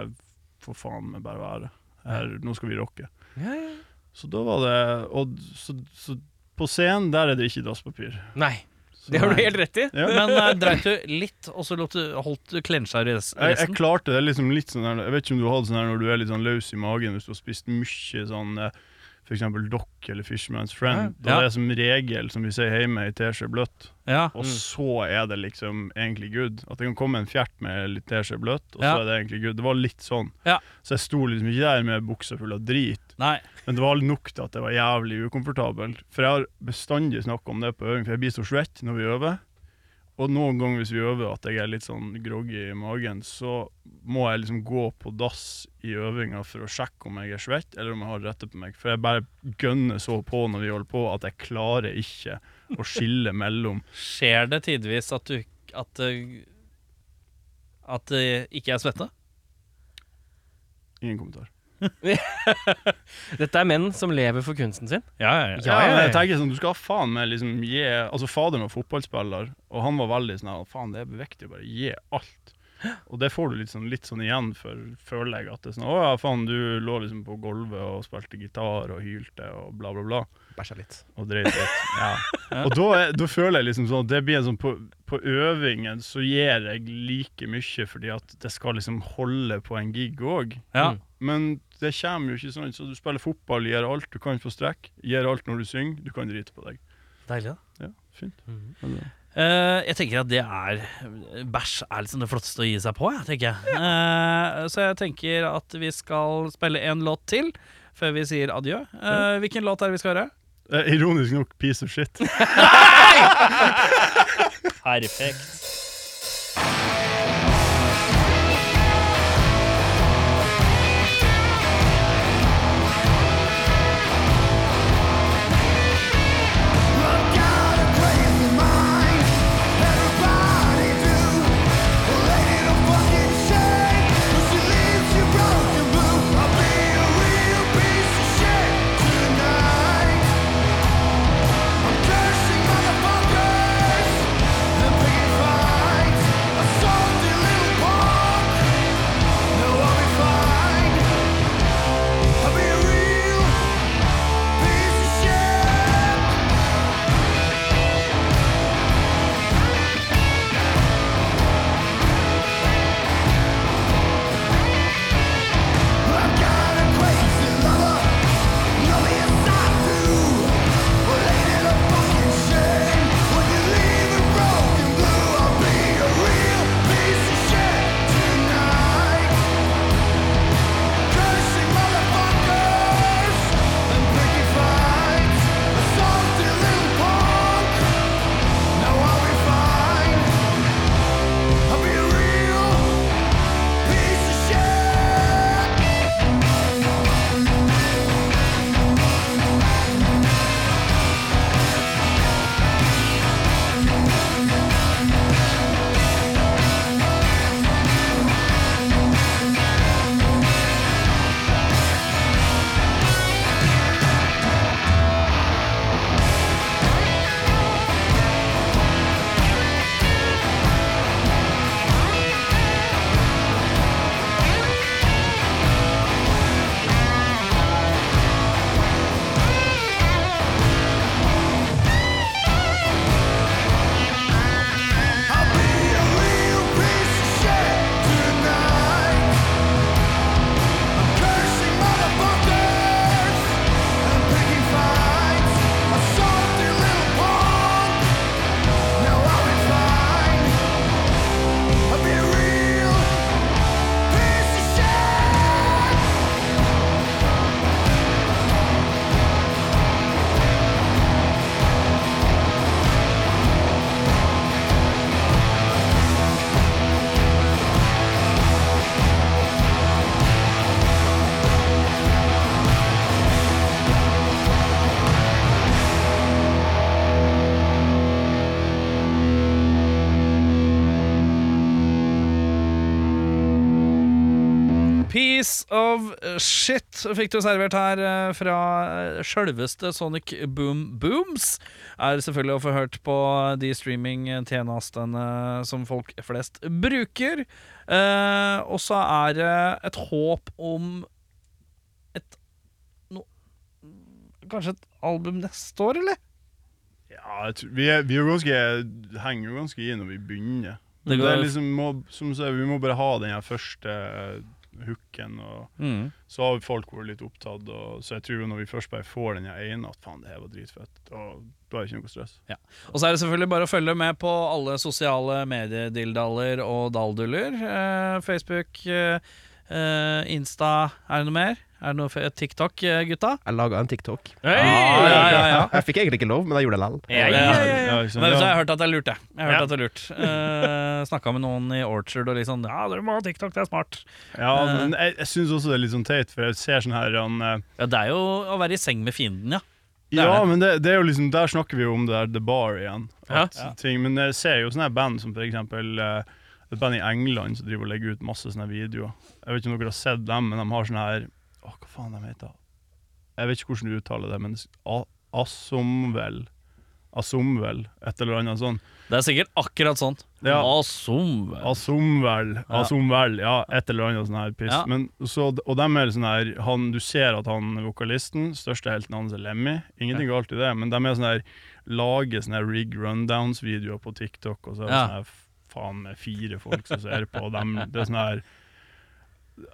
[SPEAKER 3] får faen meg bare være. Her, nå skal vi rocke.
[SPEAKER 2] Ja, ja.
[SPEAKER 3] Så da var det Og så, så på scenen, der er det ikke dasspapir.
[SPEAKER 2] Nei.
[SPEAKER 3] Så-
[SPEAKER 2] Det har du helt rett i.
[SPEAKER 3] Ja.
[SPEAKER 1] Men eh, dreit du litt, og så lot du, holdt du klensja i res-
[SPEAKER 3] Jeg, jeg
[SPEAKER 1] resten?
[SPEAKER 3] klarte det liksom litt sånn her Jeg vet ikke om du har det sånn her når du er litt sånn løs i magen hvis du har spist mye sånn eh, for eksempel Dock eller Fishman's Friend. Da
[SPEAKER 1] Ja.
[SPEAKER 3] er det som regel, som vi sier hjemme, ei teskje bløtt.
[SPEAKER 1] Ja.
[SPEAKER 3] Og så er det liksom egentlig good. At det kan komme en fjert med litt teskje bløtt, og
[SPEAKER 1] Ja.
[SPEAKER 3] så er det egentlig good. Det var litt sånn.
[SPEAKER 1] Ja.
[SPEAKER 3] Så jeg sto liksom ikke der med buksa full av drit,
[SPEAKER 1] Nei.
[SPEAKER 3] men det var nok til at det var jævlig ukomfortabelt. For jeg har bestandig snakka om det på øving, for jeg blir så svett når vi øver. Og noen ganger hvis vi øver at jeg er litt sånn groggy i magen, så må jeg liksom gå på dass i øvinga for å sjekke om jeg er svett, eller om jeg har rette på meg. For jeg bare gønner så på når vi holder på, at jeg klarer ikke å skille mellom
[SPEAKER 1] Skjer det tidvis at du At det at det ikke er svette?
[SPEAKER 3] Ingen kommentar.
[SPEAKER 2] Dette er menn som lever for kunsten sin.
[SPEAKER 1] Ja, ja, ja.
[SPEAKER 3] Ja,
[SPEAKER 2] ja,
[SPEAKER 3] men
[SPEAKER 2] ja.
[SPEAKER 3] jeg tenker sånn, du skal ha faen meg liksom gi Altså Faderen var fotballspiller, og han var veldig sånn her, Faen, det er viktig å bare gi alt. Og det får du litt sånn, litt sånn igjen for, føler jeg. At det er sånn Å ja, faen, du lå liksom på gulvet og spilte gitar og hylte og bla, bla, bla.
[SPEAKER 4] Bæsja litt.
[SPEAKER 3] Og dreit litt. Ja. Og da, er- da føler jeg liksom sånn at det blir en sånn På, på øvingen så gir jeg like mye fordi at det skal liksom holde på en gig òg.
[SPEAKER 1] ja.
[SPEAKER 3] Men det kommer jo ikke sånn. Så du spiller fotball, gjør alt. Du kan få strekk. Gjør alt når du synger. Du kan drite på deg.
[SPEAKER 1] Deilig, da.
[SPEAKER 3] Ja, fint.
[SPEAKER 1] Eh, jeg tenker at det er Bæsj er liksom det flotteste å gi seg på, jeg, tenker jeg. Eh, så jeg tenker at vi skal spille en låt til før vi sier adjø. Eh, hvilken låt er det vi skal høre?
[SPEAKER 3] Eh, ironisk nok piece of shit.
[SPEAKER 1] Perfekt.
[SPEAKER 5] Tonight, I'm cursing motherfuckers.
[SPEAKER 1] Piece of shit fikk du servert her eh, fra sjølveste Sonic Boom Booms. Er selvfølgelig å få hørt på de streamingtjenestene som folk flest bruker. Eh, Og så er det et håp om et no, Kanskje et album neste år, eller?
[SPEAKER 3] Ja, jeg tror, vi, er, vi er jo ganske, henger jo ganske i når vi begynner.
[SPEAKER 1] Det
[SPEAKER 3] Det
[SPEAKER 1] går-
[SPEAKER 3] er liksom, må, som du sier, vi må bare ha den her første eh, hooken, og så har folk vært litt opptatt. Og, så jeg tror jo når vi først bare får den her ene, at faen, det her var dritfett. Og da er det ikke noe stress.
[SPEAKER 1] Ja. Og så er det selvfølgelig bare å følge med på alle sosiale mediedildaller og dalduller. Eh, Facebook, eh, eh, Insta, er det noe mer? Er det noe fe- TikTok, eh, gutta?
[SPEAKER 4] Jeg laga en TikTok.
[SPEAKER 1] Ja, ja, ja, ja.
[SPEAKER 4] Jeg fikk egentlig ikke lov, men jeg gjorde det likevel.
[SPEAKER 2] Ja, ja, ja.
[SPEAKER 3] ikke sant?
[SPEAKER 1] Men så har
[SPEAKER 3] Ja.
[SPEAKER 1] jeg hørt at det er lurt, jeg. jeg har hørt
[SPEAKER 2] Ja.
[SPEAKER 1] at det er lurt eh, Snakka med noen i Orchard og liksom Ja, dere må ha TikTok, det er smart.
[SPEAKER 3] Ja, men jeg, jeg syns også det er litt sånn teit, for jeg ser sånn her han, eh,
[SPEAKER 1] Ja, det er jo å være i seng med fienden, ja. Det er
[SPEAKER 3] Ja,
[SPEAKER 1] det.
[SPEAKER 3] men det, det er jo liksom, der snakker vi jo om det der The Bar igjen.
[SPEAKER 2] Ja.
[SPEAKER 3] At Ting, men jeg ser jo sånne her band som for eksempel eh, et band i England som driver og legger ut masse sånne her videoer. Jeg vet ikke om dere har sett dem, men de har sånne her Åh, hva faen de heter Jeg vet ikke hvordan du uttaler det, men A- Asomvel. Asomvel, et eller annet sånn.
[SPEAKER 1] Det er sikkert akkurat sånn.
[SPEAKER 3] Ja.
[SPEAKER 1] Awesome.
[SPEAKER 3] Asomvel, Asomvel, ja, et eller annet sånn her piss.
[SPEAKER 1] Ja.
[SPEAKER 3] Men, så, og dem er sånn her han, Du ser at han vokalisten, største helten hans er Lemmy. Ingenting galt i det, men de er sånn her lager sånne her rig rundowns-videoer på TikTok, og så er det
[SPEAKER 1] Ja.
[SPEAKER 3] sånn her faen med fire folk som ser på, og dem, det er sånn her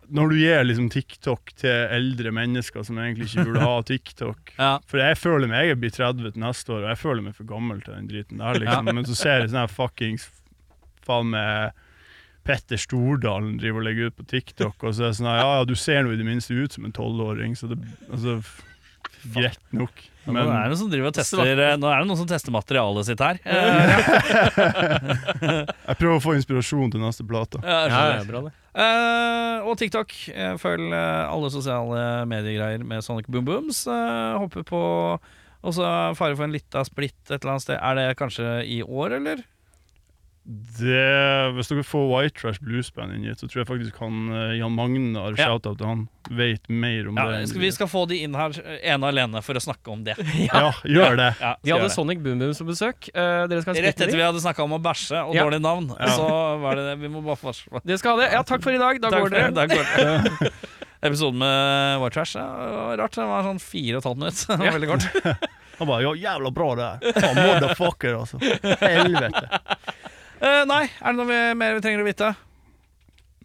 [SPEAKER 3] Når du gir liksom TikTok til eldre mennesker som egentlig ikke burde ha TikTok
[SPEAKER 1] Ja.
[SPEAKER 3] For jeg føler meg jeg blir 30 til neste år, og jeg føler meg for gammel til den driten der, liksom.
[SPEAKER 1] Ja.
[SPEAKER 3] Men så ser jeg sånn her fuckings faen med Petter Stordalen driver og legger ut på TikTok, og så er det sånn her, ja, ja, du ser nå i det minste ut som en tolvåring, så det altså, f- Greit nok.
[SPEAKER 1] Nå
[SPEAKER 3] Men
[SPEAKER 1] er det noen som driver og tester eh, Nå er det noen som tester materialet sitt her. Eh, <laughs>
[SPEAKER 3] jeg prøver å få inspirasjon til neste plate.
[SPEAKER 1] jeg
[SPEAKER 2] Ja,
[SPEAKER 1] skjønner.
[SPEAKER 2] ja, bra det.
[SPEAKER 1] Eh, og TikTok. Eh, Følg eh, alle sosiale mediegreier med Sonic Boom Booms. Eh, håper på Og så fare for en lita splitt et eller annet sted. Er det kanskje i år, eller?
[SPEAKER 3] Det, hvis dere får White Trash Blues Band inn hit, så tror jeg faktisk han eh, Jan Magnar,
[SPEAKER 1] Ja.
[SPEAKER 3] shout-out til han, vet mer om det.
[SPEAKER 1] Ja,
[SPEAKER 3] enn
[SPEAKER 1] skal, vi skal få de inn her eh, ene alene for å snakke om det.
[SPEAKER 3] Ja, gjør det.
[SPEAKER 1] <laughs> Ja,
[SPEAKER 2] De
[SPEAKER 1] skal
[SPEAKER 2] hadde
[SPEAKER 1] gjøre det.
[SPEAKER 2] Sonic Boom Boom som besøk. Eh, dere skal ha en
[SPEAKER 1] Rett
[SPEAKER 2] splitter
[SPEAKER 1] etter
[SPEAKER 2] i.
[SPEAKER 1] vi hadde snakka om å bæsje og
[SPEAKER 2] Ja.
[SPEAKER 1] dårlige navn.
[SPEAKER 3] Ja.
[SPEAKER 1] Så var det det. Vi må bare forsvare
[SPEAKER 2] Dere skal ha det. Ja, takk for i dag. Da går dere.
[SPEAKER 1] Da går dere.
[SPEAKER 2] <laughs>
[SPEAKER 1] Episoden med White Trash ja, var rart. Det var sånn fire og et halvt minutt. <laughs> Det var Veldig kort.
[SPEAKER 3] Han bare 'ja, jævla bra det her'. Faen, motherfucker, altså. Helvete.
[SPEAKER 1] Eh, nei, er det noe vi, mer vi trenger å vite?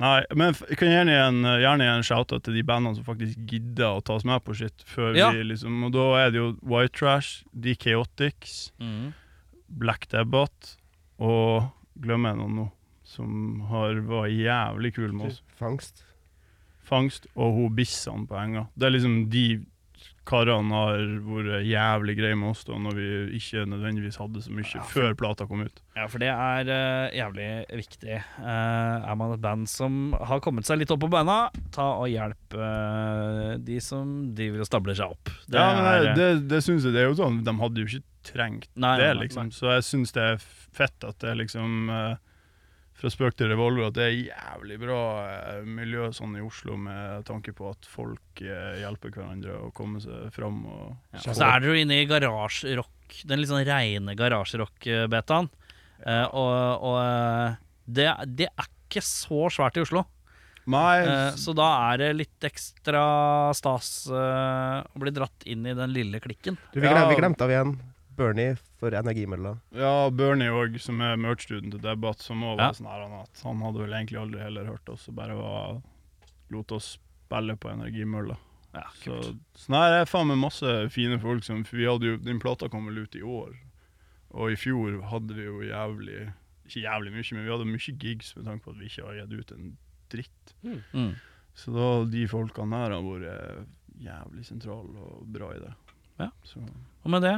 [SPEAKER 3] Nei, men f- jeg kan gjerne gi en, gjerne gi en shout-out til de bandene som faktisk gidder å ta oss med på shit. Før
[SPEAKER 1] Ja.
[SPEAKER 3] vi liksom, og da er det jo White Trash, The Chaotix,
[SPEAKER 2] Mm.
[SPEAKER 3] Black Debbat og glemmer jeg noen nå, som har, var jævlig kule med oss.
[SPEAKER 4] Fangst.
[SPEAKER 3] Fangst og hun Bissan på enga. Det er liksom de karene har vært jævlig greie med oss da, når vi ikke nødvendigvis hadde så mye før plata kom ut.
[SPEAKER 1] Ja, for det er eh, jævlig viktig. Eh, er man et band som har kommet seg litt opp på beina, ta og hjelp eh, de som driver og stabler seg opp. Det
[SPEAKER 3] ja, men
[SPEAKER 1] er,
[SPEAKER 3] det,
[SPEAKER 1] eh,
[SPEAKER 3] det, det syns jeg det er jo sånn. De hadde jo ikke trengt
[SPEAKER 1] Nei,
[SPEAKER 3] det,
[SPEAKER 1] nei, nei,
[SPEAKER 3] liksom.
[SPEAKER 1] nei.
[SPEAKER 3] Så jeg syns det er fett at det er liksom eh, Fra spøk til revolver at det er jævlig bra eh, miljø sånn i Oslo med tanke på at folk eh, hjelper hverandre å komme seg fram og
[SPEAKER 1] ja. Så er dere jo inne i garasjerock, den litt sånn reine garasjerock-betaen. Eh, og og eh, det, det er ikke så svært i Oslo.
[SPEAKER 3] Nei,
[SPEAKER 1] Eh, så da er det litt ekstra stas eh, å bli dratt inn i den lille klikken.
[SPEAKER 4] Du, vi,
[SPEAKER 3] Ja.
[SPEAKER 4] glem, vi glemte av igjen Bernie for energimidler.
[SPEAKER 3] ja, Bernie òg, som er merch-duden til Debatt, som òg
[SPEAKER 1] Ja.
[SPEAKER 3] var sånn her han at han hadde vel egentlig aldri heller hørt oss, og bare var, lot oss spille på energimølla.
[SPEAKER 1] Ja,
[SPEAKER 3] Så,
[SPEAKER 1] kult.
[SPEAKER 3] så nei, det er faen meg masse fine folk som For vi hadde jo, den plata kom vel ut i år Og i fjor hadde vi jo jævlig Ikke jævlig mye, men vi hadde mye gigs Med tanke på at vi ikke har gitt ut en dritt
[SPEAKER 1] Mm.
[SPEAKER 3] Så da de folkene her har vært jævlig sentrale og bra i det
[SPEAKER 1] Ja.
[SPEAKER 3] Så
[SPEAKER 1] Og med det,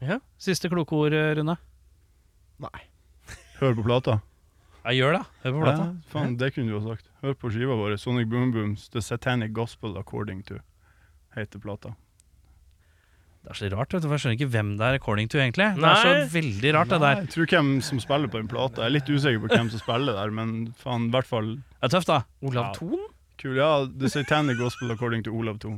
[SPEAKER 2] Ja.
[SPEAKER 1] siste kloke ord, eh, Rune.
[SPEAKER 3] hør på plata
[SPEAKER 1] Ja, gjør det. Hør på plata.
[SPEAKER 3] Ja, faen, det kunne du ha sagt Hør på skiva vår, Sonic Boom Booms The Satanic Gospel According To Heter plata
[SPEAKER 1] Det er så rart, vet du, for jeg skjønner ikke hvem det er according to, egentlig. Det er
[SPEAKER 2] Nei.
[SPEAKER 1] så veldig rart, det der.
[SPEAKER 3] Jeg tror hvem som spiller på den plata Jeg er litt usikker på hvem som spiller der Men faen, i hvert fall
[SPEAKER 1] Det er tøft, da.
[SPEAKER 2] Olav
[SPEAKER 3] Ja.
[SPEAKER 2] Thon?
[SPEAKER 3] Kul. Ja, The Satanic Gospel According to Olav Thon.